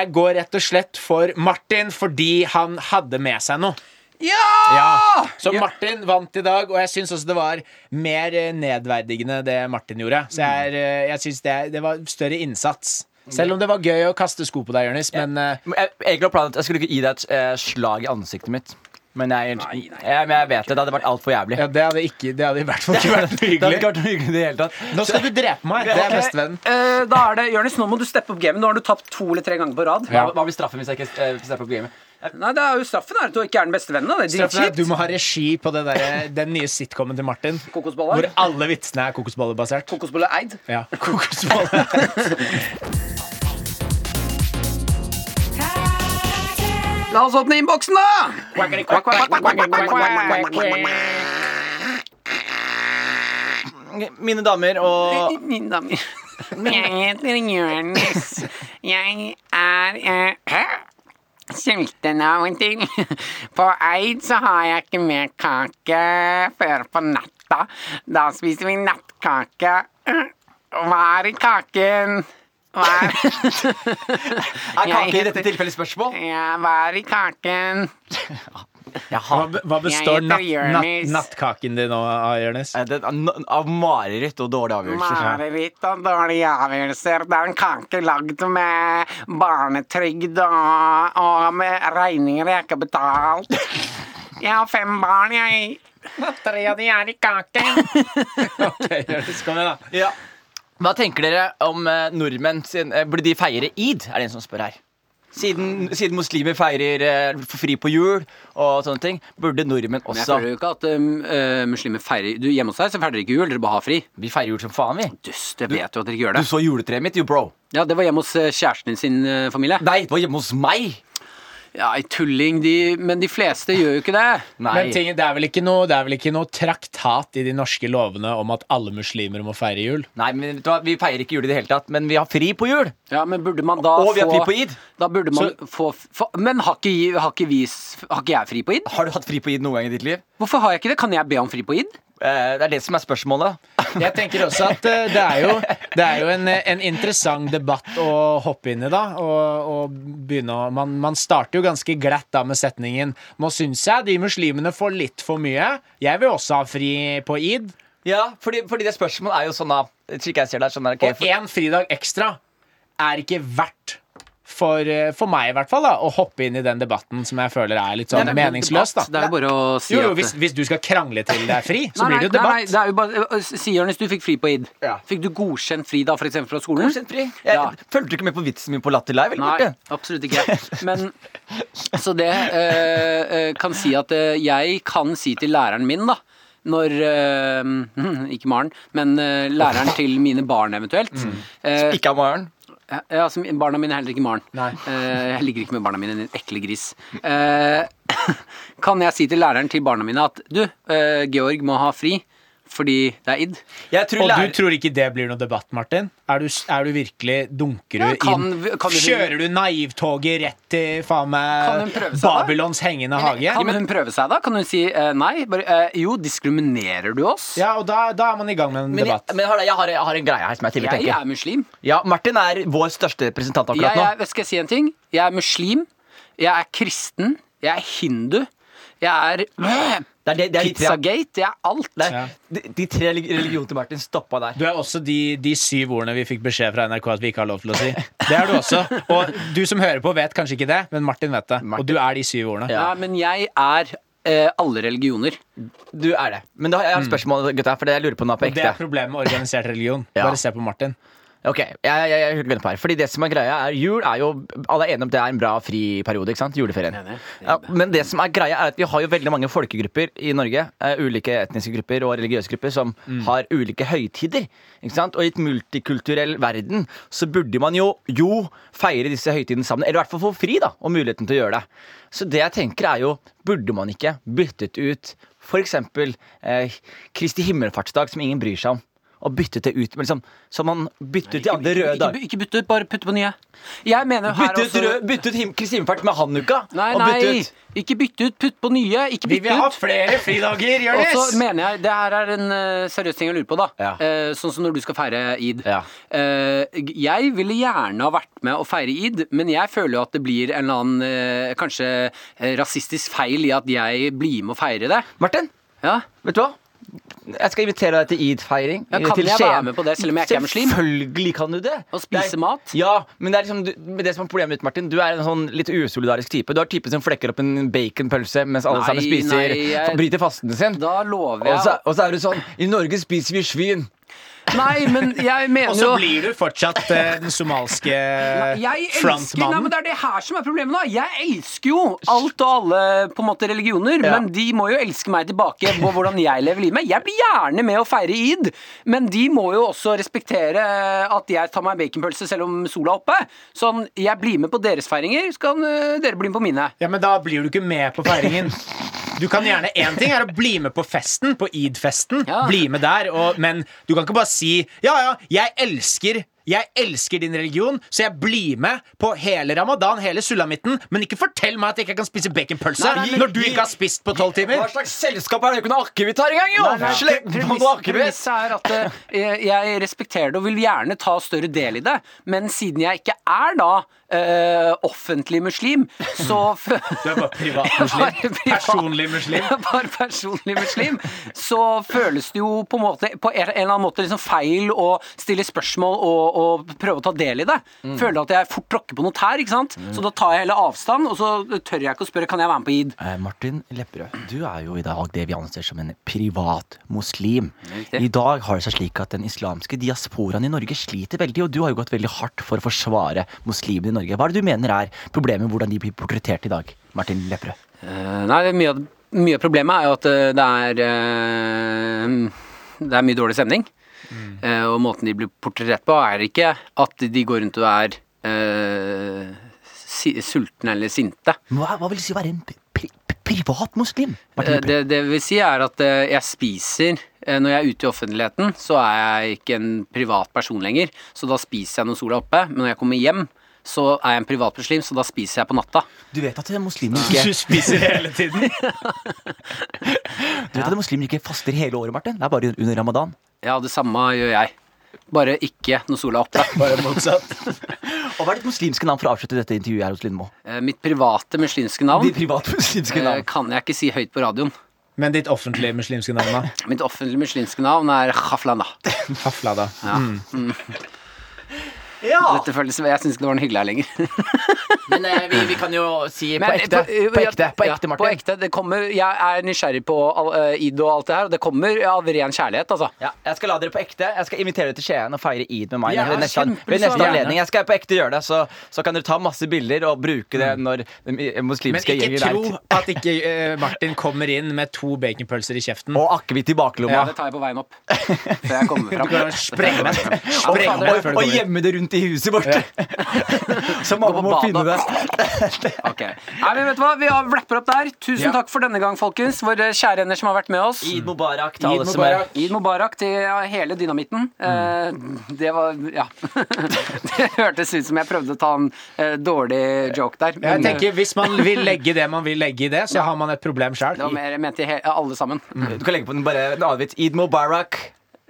E: Jeg går rett og slett for Martin fordi han hadde med seg noe.
C: Ja!
E: Ja. Så Martin vant i dag, og jeg syns også det var mer eh, nedverdigende det Martin gjorde. Så jeg, er, eh, jeg syns det, det var større innsats. Selv om det var gøy å kaste sko på deg, Jonis, men eh,
D: Men Jeg, egentlig var planen at jeg skulle ikke gi deg et eh, slag i ansiktet mitt. Men jeg,
C: Nei, nei.
D: jeg, men jeg vet det. Det hadde vært altfor jævlig.
E: ja, det, hadde ikke, det hadde i hvert fall ikke vært noe
D: Det hadde ikke
E: hyggelig.
D: vært noe hyggelig i det hele tatt.
E: Nå skal du drepe meg. Det er
C: Ok,
E: bestevennen.
C: eh, da er det, Jørnis, nå må du steppe opp gamet. Nå har du tapt to eller tre ganger på rad.
D: Hva, hva blir straffen hvis jeg ikke eh, hvis jeg får bli med?
C: Nei, det er jo Straffen er at du ikke er den beste vennen. da. Det er
E: Du
C: dritkjipt.
E: må ha regi på det der, eh, den nye sitcomen til Martin. Hvor
C: Kokosboller.
E: alle vitsene er kokosbollebasert.
C: Kokosbolle eid.
E: Ja, kokosbolle.
C: La oss åpne innboksen, da!
D: Mine damer og
A: Min dame. Jeg heter Jonis. Jeg er eh, sultenavn til. På Eid så har jeg ikke mer kake før på natta. Da spiser vi nattkake. Hva er i kaken? Hva er,
D: Er kake i
A: heter-
D: dette tilfellet spørsmål?
A: ja, hva er i kaken?
D: Jeg
E: Hva,
D: har
E: be- hva består
A: heter
E: natt, natt,
A: Jonis.
E: nattkaken din av, av, Jonis?
D: Eh, det, er no- Av mareritt og dårlige avgjørelser.
A: Mareritt og dårlige avgjørelser. Det er en kake lagd med barnetrygd og, og med regninger jeg ikke har betalt. Jeg har fem barn, jeg. Tre av de er i kaken.
E: Ok, Jonis, kom igjen, da.
D: Ja. Hva tenker dere om eh, nordmenn sin eh, Burde de feire id, er det en som spør her. Siden, siden muslimer feirer eh, fri på jul og sånne ting, burde
C: Men
D: nordmenn
C: jeg
D: også
C: føler jo ikke at um, eh, muslimer feirer du, Hjemme hos deg så feirer dere ikke jul, dere bare har fri.
D: Vi feirer jul som faen, vi.
C: Dust, jeg vet jo at dere ikke gjør
D: Du
C: det.
D: så juletreet mitt, jo, bro.
C: Ja, Det var hjemme hos eh, kjæresten din sin eh, familie.
D: Nei, det var hjemme hos meg.
C: Ja, ei tulling, de, men de fleste gjør jo ikke det.
D: Nei.
E: Men ting, det, er vel ikke noe, det er vel ikke noe traktat i de norske lovene om at alle muslimer må feire jul?
D: Nei, men vet du hva, Vi feirer ikke jul i det hele tatt, men vi har fri på jul.
C: Ja, men burde man da
D: Og vi
C: få
D: har fri på id.
C: Da burde man få, få Men har ikke, har, ikke vi, s- har ikke jeg fri på id?
D: Har du hatt fri på id noen gang i ditt liv?
C: Hvorfor har jeg ikke det? Kan jeg be om fri på id?
D: Eh, det er det som er spørsmålet.
E: Jeg tenker også at eh, det er jo, det er jo en, eh, en interessant debatt å hoppe inn i, da. Og, og begynne å man, man starter jo ganske glatt da med setningen Nå syns jeg de muslimene får litt for mye. Jeg vil også ha fri på id.
D: Ja, fordi, fordi det spørsmålet er jo sånn da Slik jeg ser det, er sånn da, ok,
E: Og én fridag ekstra er ikke verdt for, eh, for meg, i hvert fall, da, å hoppe inn i den debatten som jeg føler er litt sånn
C: Det er ikke en
E: meningsløs.
C: debatt, Det er
E: da
C: jo bare å si
E: jo, jo,
C: at
E: hvis, hvis du skal krangle til det er fri, så
C: Nei,
E: blir det
C: nei,
E: jo
C: Nei, nei,
E: debatt.
C: det er jo bare, eh, si, Jonis, du fikk fri på id.
E: Ja.
C: Fikk du godkjent fri da, for eksempel fra skolen?
D: Godkjent fri. Jeg
C: Ja.
D: Følte du ikke med på vitsen min på Latter Live? eller,
C: Nei,
D: Morten?
C: absolutt ikke. Men Så det eh, eh, kan si at eh, jeg kan si til læreren min, da når eh, Ikke Maren, men eh, læreren til mine barn eventuelt. eh,
D: Ikke av Maren.
C: ja, som barna mine er heller ikke Maren.
E: Nei.
C: Eh, jeg ligger ikke med barna mine, din ekle gris. Eh, kan jeg si til læreren til barna mine at du, eh, Georg må ha fri fordi det er id?
D: Jeg tror
E: Og
D: lærer-
E: du tror ikke det blir noe debatt, Martin? Er du, er du virkelig Dunker du
C: Ja, kan-
E: inn?
C: kan du-
E: Kjører du naivtoget rett til faen
C: Kan hun
E: meg
C: prøve seg da?
E: Babylons hengende hage?
C: Kan hun prøve seg da? Kan hun si eh, nei? Bare, eh, jo, diskriminerer du oss?
E: Ja, og da, da er man i gang med en
D: men jeg,
E: debatt.
D: men har det- jeg, har, jeg har en greie her som jeg tidligere
C: Jeg er
D: tenker.
C: muslim.
D: Ja, Martin er vår største representant akkurat
C: Jeg,
D: nå.
C: er- skal jeg si en ting? Jeg er muslim. Jeg er kristen. Jeg er hindu. Jeg er
D: Det er, det, det er de tre,
C: Pizzagate. Jeg er alt.
D: det
E: Ja.
D: er, de, de tre religionene til Martin stoppa der.
E: Du er også de, de syv ordene vi fikk beskjed fra NRK at vi ikke har lov til å si. Det er du også. Og du som hører på, vet kanskje ikke det, men Martin vet det. Og du er de syv ordene.
C: Nei, men jeg er eh, alle religioner.
D: Du er det. Men da, har jeg har et spørsmål, gutta, for det jeg lurer på nå er på
E: Mm. Og det er
D: ekte.
E: problemet med organisert religion.
D: Ja.
E: Bare se på Martin.
D: Ok, jeg, jeg, jeg er helt gønn på her Fordi det som er greia er Jul er jo Alle er enige om det er en bra friperiode, ikke sant? Juleferien.
C: Enig.
D: Ja, men det som er greia er at vi har jo veldig mange folkegrupper i Norge. eh, ulike etniske grupper og religiøse grupper som
C: Mm.
D: har ulike høytider. Ikke sant? Og i et multikulturell verden så burde man jo, jo feire disse høytidene sammen. Eller i hvert fall få fri da, og muligheten til å gjøre det. Så det jeg tenker er jo, burde man ikke byttet ut f.eks. Eh, Kristi himmelfartsdag, som ingen bryr seg om. Og byttet det ut med liksom, Så man bytter ut de andre røde
C: Ikke,
D: dager.
C: ikke bytte ut, bare putte på nye. Jeg mener her
D: Bytte ut,
C: også
D: rød- bytte ut him Kristi himmelfart med hanukka.
C: Nei,
D: og bytte
C: nei.
D: ut-
C: Ikke bytte ut, putt på nye. Ikke
E: Vi vil
C: bytte
E: ha
C: ut.
E: flere fridager,
C: Og så
E: Jonis!
C: mener jeg, Det her er en eh, seriøs ting jeg lurer på. da
D: Ja.
C: Eh, Sånn som når du skal feire id.
D: Ja.
C: Eh, jeg ville gjerne ha vært med å feire id, men jeg føler jo at det blir en eller annen eh, kanskje eh, rasistisk feil i at jeg blir med å feire det.
D: Martin,
C: Ja,
D: Vet du hva? Jeg skal invitere deg til id-feiring.
C: Ja, kan
D: til
C: jeg
D: Skien.
C: være med på det, selv om jeg ikke er muslim?
D: Selvfølgelig kan du det.
C: Og spise
D: Det er-
C: mat?
D: Ja, men det er liksom du- men det som er problemet mitt, Martin, du er en sånn litt usolidarisk type. Du er typen som flekker opp en baconpølse mens alle
C: Nei,
D: sammen spiser
C: nei, jeg-
D: bryter fasten sin.
C: da lover
D: og,
C: jeg
D: så, og så er du sånn I Norge spiser vi svin.
C: Nei, men jeg
E: Og
C: mener
E: så
C: jo
E: blir du fortsatt eh, den somalske
C: jeg elsker, nei, men
E: frontmannen.
C: Det er det her som er problemet. da Jeg elsker jo alt og alle på en måte religioner,
D: Ja.
C: men de må jo elske meg tilbake på hvordan jeg lever livet. mitt. Jeg blir gjerne med å feire id, men de må jo også respektere at jeg tar meg en baconpølse selv om sola er oppe. Sånn, jeg blir med på deres feiringer, så kan øh, dere bli med på mine.
E: Ja, men da blir du ikke med på feiringen. Du kan gjerne, Én ting er å bli med på festen, på id-festen.
C: Ja.
E: Bli med der, og, men du kan ikke bare si Ja, ja, jeg elsker jeg elsker din religion, så jeg blir med på hele ramadan, hele sulamitten, men ikke fortell meg at jeg ikke kan spise baconpølse
D: Nei, nei,
E: når du
D: gi-
E: ikke har spist på tolv timer.
D: Hva slags selskap er det ikke noe akevitt her engang, jo?
C: Nei, nei,
D: Slepp
C: premiss-
D: på noe akevitt!
C: Premisset er at eh, jeg respekterer det og vil gjerne ta større del i det, men siden jeg ikke er da eh, offentlig muslim, så f-
E: Du er bare privat
C: Jeg er
E: muslim.
C: bare privat-
E: Personlig muslim.
C: Jeg er bare personlig muslim, så føles det jo på, en måte, på en eller annen måte liksom feil å stille spørsmål og, og prøve å ta del i det. Føler at jeg fort tråkker på noe tær, ikke sant? Så da tar jeg hele avstand, og så tør jeg ikke å spørre kan jeg være med på id.
D: Eh, Martin Lepperød, du er jo i dag det vi anser som en privat muslim.
C: Riktig.
D: I dag har det seg slik at den islamske diasporaen i Norge sliter veldig, og du har jo gått veldig hardt for å forsvare muslimene i Norge. Hva er det du mener er problemet med hvordan de blir portrettert i dag, Martin Lepperød?
C: Eh, nei, det er mye, av- mye av problemet er jo at eh, det er eh, Det er mye dårlig stemning. Eh, og måten de blir portrettert på, er ikke at de går rundt og er eh, si, sultne eller sinte.
D: Hva, hva vil det si å være en pri pri privat muslim?
C: Eh,
D: Martin Lepperød?
C: det, det vil si er at eh, jeg spiser eh, Når jeg er ute i offentligheten, så er jeg ikke en privat person lenger. Så da spiser jeg når sola er oppe. Men når jeg kommer hjem, så er jeg en privat muslim, så da spiser jeg på natta.
D: Du vet at muslimer
E: Du
D: ikke,
E: spiser hele tiden.
D: du vet at muslimer ikke faster hele året, Martin? Det er bare under ramadan.
C: Ja, det samme gjør jeg. Bare ikke når sola er oppe.
E: Bare motsatt.
D: Og hva er ditt muslimske navn for å avslutte dette intervjuet her hos Lindmo?
C: Eh, Mitt private muslimske navn
D: Ditt private muslimske
C: eh,
D: navn.
C: kan jeg ikke si høyt på radioen.
E: Men ditt offentlige muslimske navn, da?
C: Mitt offentlige muslimske navn er Khaflana.
E: Hafla, da. Ja.
C: Dette føles, jeg syns ikke det var noe hyggelig her lenger.
D: Men eh, vi, vi kan jo si på
C: Men,
D: ekte.
C: eh,
D: På ekte, på
C: ja, På
D: ekte Martin.
C: ekte, det kommer, jeg er nysgjerrig på all- eh, id og alt det her, og det kommer av ren kjærlighet, altså.
D: Ja, jeg skal la dere på ekte. Jeg skal invitere dere til Skien og feire id med meg.
C: Ja,
D: ved neste,
C: kjempe-
D: ved neste
C: gjerne.
D: anledning Jeg skal på ekte gjøre det, så, så kan dere ta masse bilder og bruke det når den i-
E: Men
D: muslimske
E: ikke
D: gjengen er
E: tro at ikke eh, Martin kommer inn med to baconpølser i kjeften.
D: Og akevitt i baklomma.
C: Ja, det tar jeg på veien opp. Før jeg kommer
E: Du
C: fram.
E: kan sprenge meg.
D: Og,
E: Sprenge
D: og,
E: meg før du
D: og
E: kommer inn.
D: gjemme det rundt i huset vårt. så
C: Gå
D: mamma
C: på
D: må
C: badet.
D: finne det.
C: Ok. Nei, men vet du hva? Vi rapper opp der. Tusen
E: Ja.
C: takk for denne gang, folkens. Våre kjære hender som har vært med oss.
D: Eid mubarak til
E: Eid
D: alle som er
E: mubarak.
C: Eid Mubarak til ja, hele dynamitten. Eh, det var Ja. det hørtes ut som jeg prøvde å ta en eh, dårlig joke der.
E: Jeg
C: men, eh,
E: tenker Hvis man vil legge det man vil legge i det, så har man et problem sjøl.
C: det var mer jeg mente he alle sammen.
D: Du kan legge på den bare en annen vits. Eid mubarak.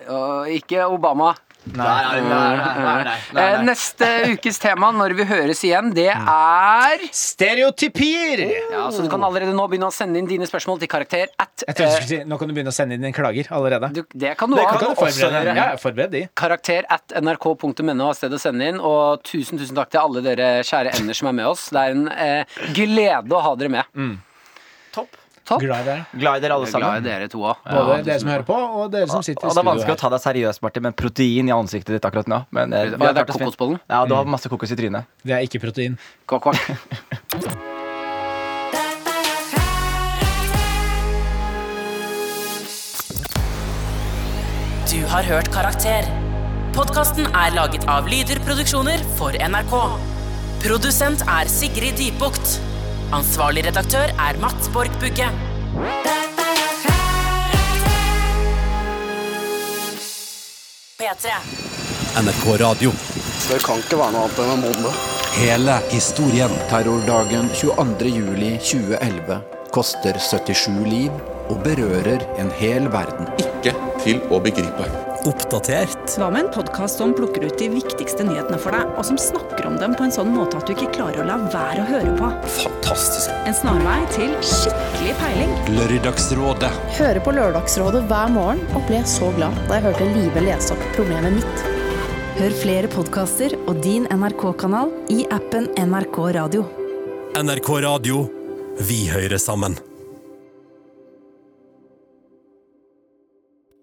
C: Og ikke Obama. Eh, Neste ukes tema når vi høres igjen, det er
E: Stereotypier!
C: ja, Så du kan allerede nå begynne å sende inn dine spørsmål til karakter at eh,
E: Jeg trodde du
D: eh,
E: skulle si Nå kan du begynne å sende inn en klager allerede.
C: du, Det kan du
E: Det
C: ha.
E: kan du forberede.
D: gjøre.
E: Ja, ja, forbered de.
C: Karakter at nrk.no er stedet å sende inn. Og tusen tusen takk til alle dere kjære ender som er med oss. Det er en eh, glede å ha dere med.
E: Mm.
D: Topp.
C: Topp.
E: Glad i dere.
D: Glad i dere alle
C: Jeg er glad i
D: sammen.
C: dere to òg.
E: Både dere som hører på, og dere som sitter i
D: Og det er
E: studio
D: vanskelig å
E: her.
D: ta deg seriøst, Martin, med protein i ansiktet ditt akkurat nå. Men,
C: Ja,
D: eh, vi har
C: det er
D: klart oss fint.
C: kokosbollen.
D: Ja, du har masse kokos i trynet.
E: Det er ikke protein.
B: Du har hørt Karakter. Podkasten er laget av Lyder Produksjoner for NRK. Produsent er Sigrid Dybukt. Ansvarlig redaktør er Mats Borg Bugge. P3.
G: NRK Radio.
H: Det kan ikke være noe annet enn en bombe.
G: Hele historien.
I: Terrordagen 22. juli 2011 koster 77 liv og berører en hel verden.
J: Ikke til å begripe.
G: Oppdatert
K: Hva med en podkast som plukker ut de viktigste nyhetene for deg, og som snakker om dem på en sånn måte at du ikke klarer å la være å høre på?
J: Fantastisk.
K: En snarvei til skikkelig peiling.
G: Lørdagsrådet.
K: Hører på Lørdagsrådet hver morgen og ble så glad da jeg hørte Live lese opp problemet mitt. Hør flere podkaster og din NRK-kanal i appen NRK Radio.
G: NRK Radio. Vi hører sammen.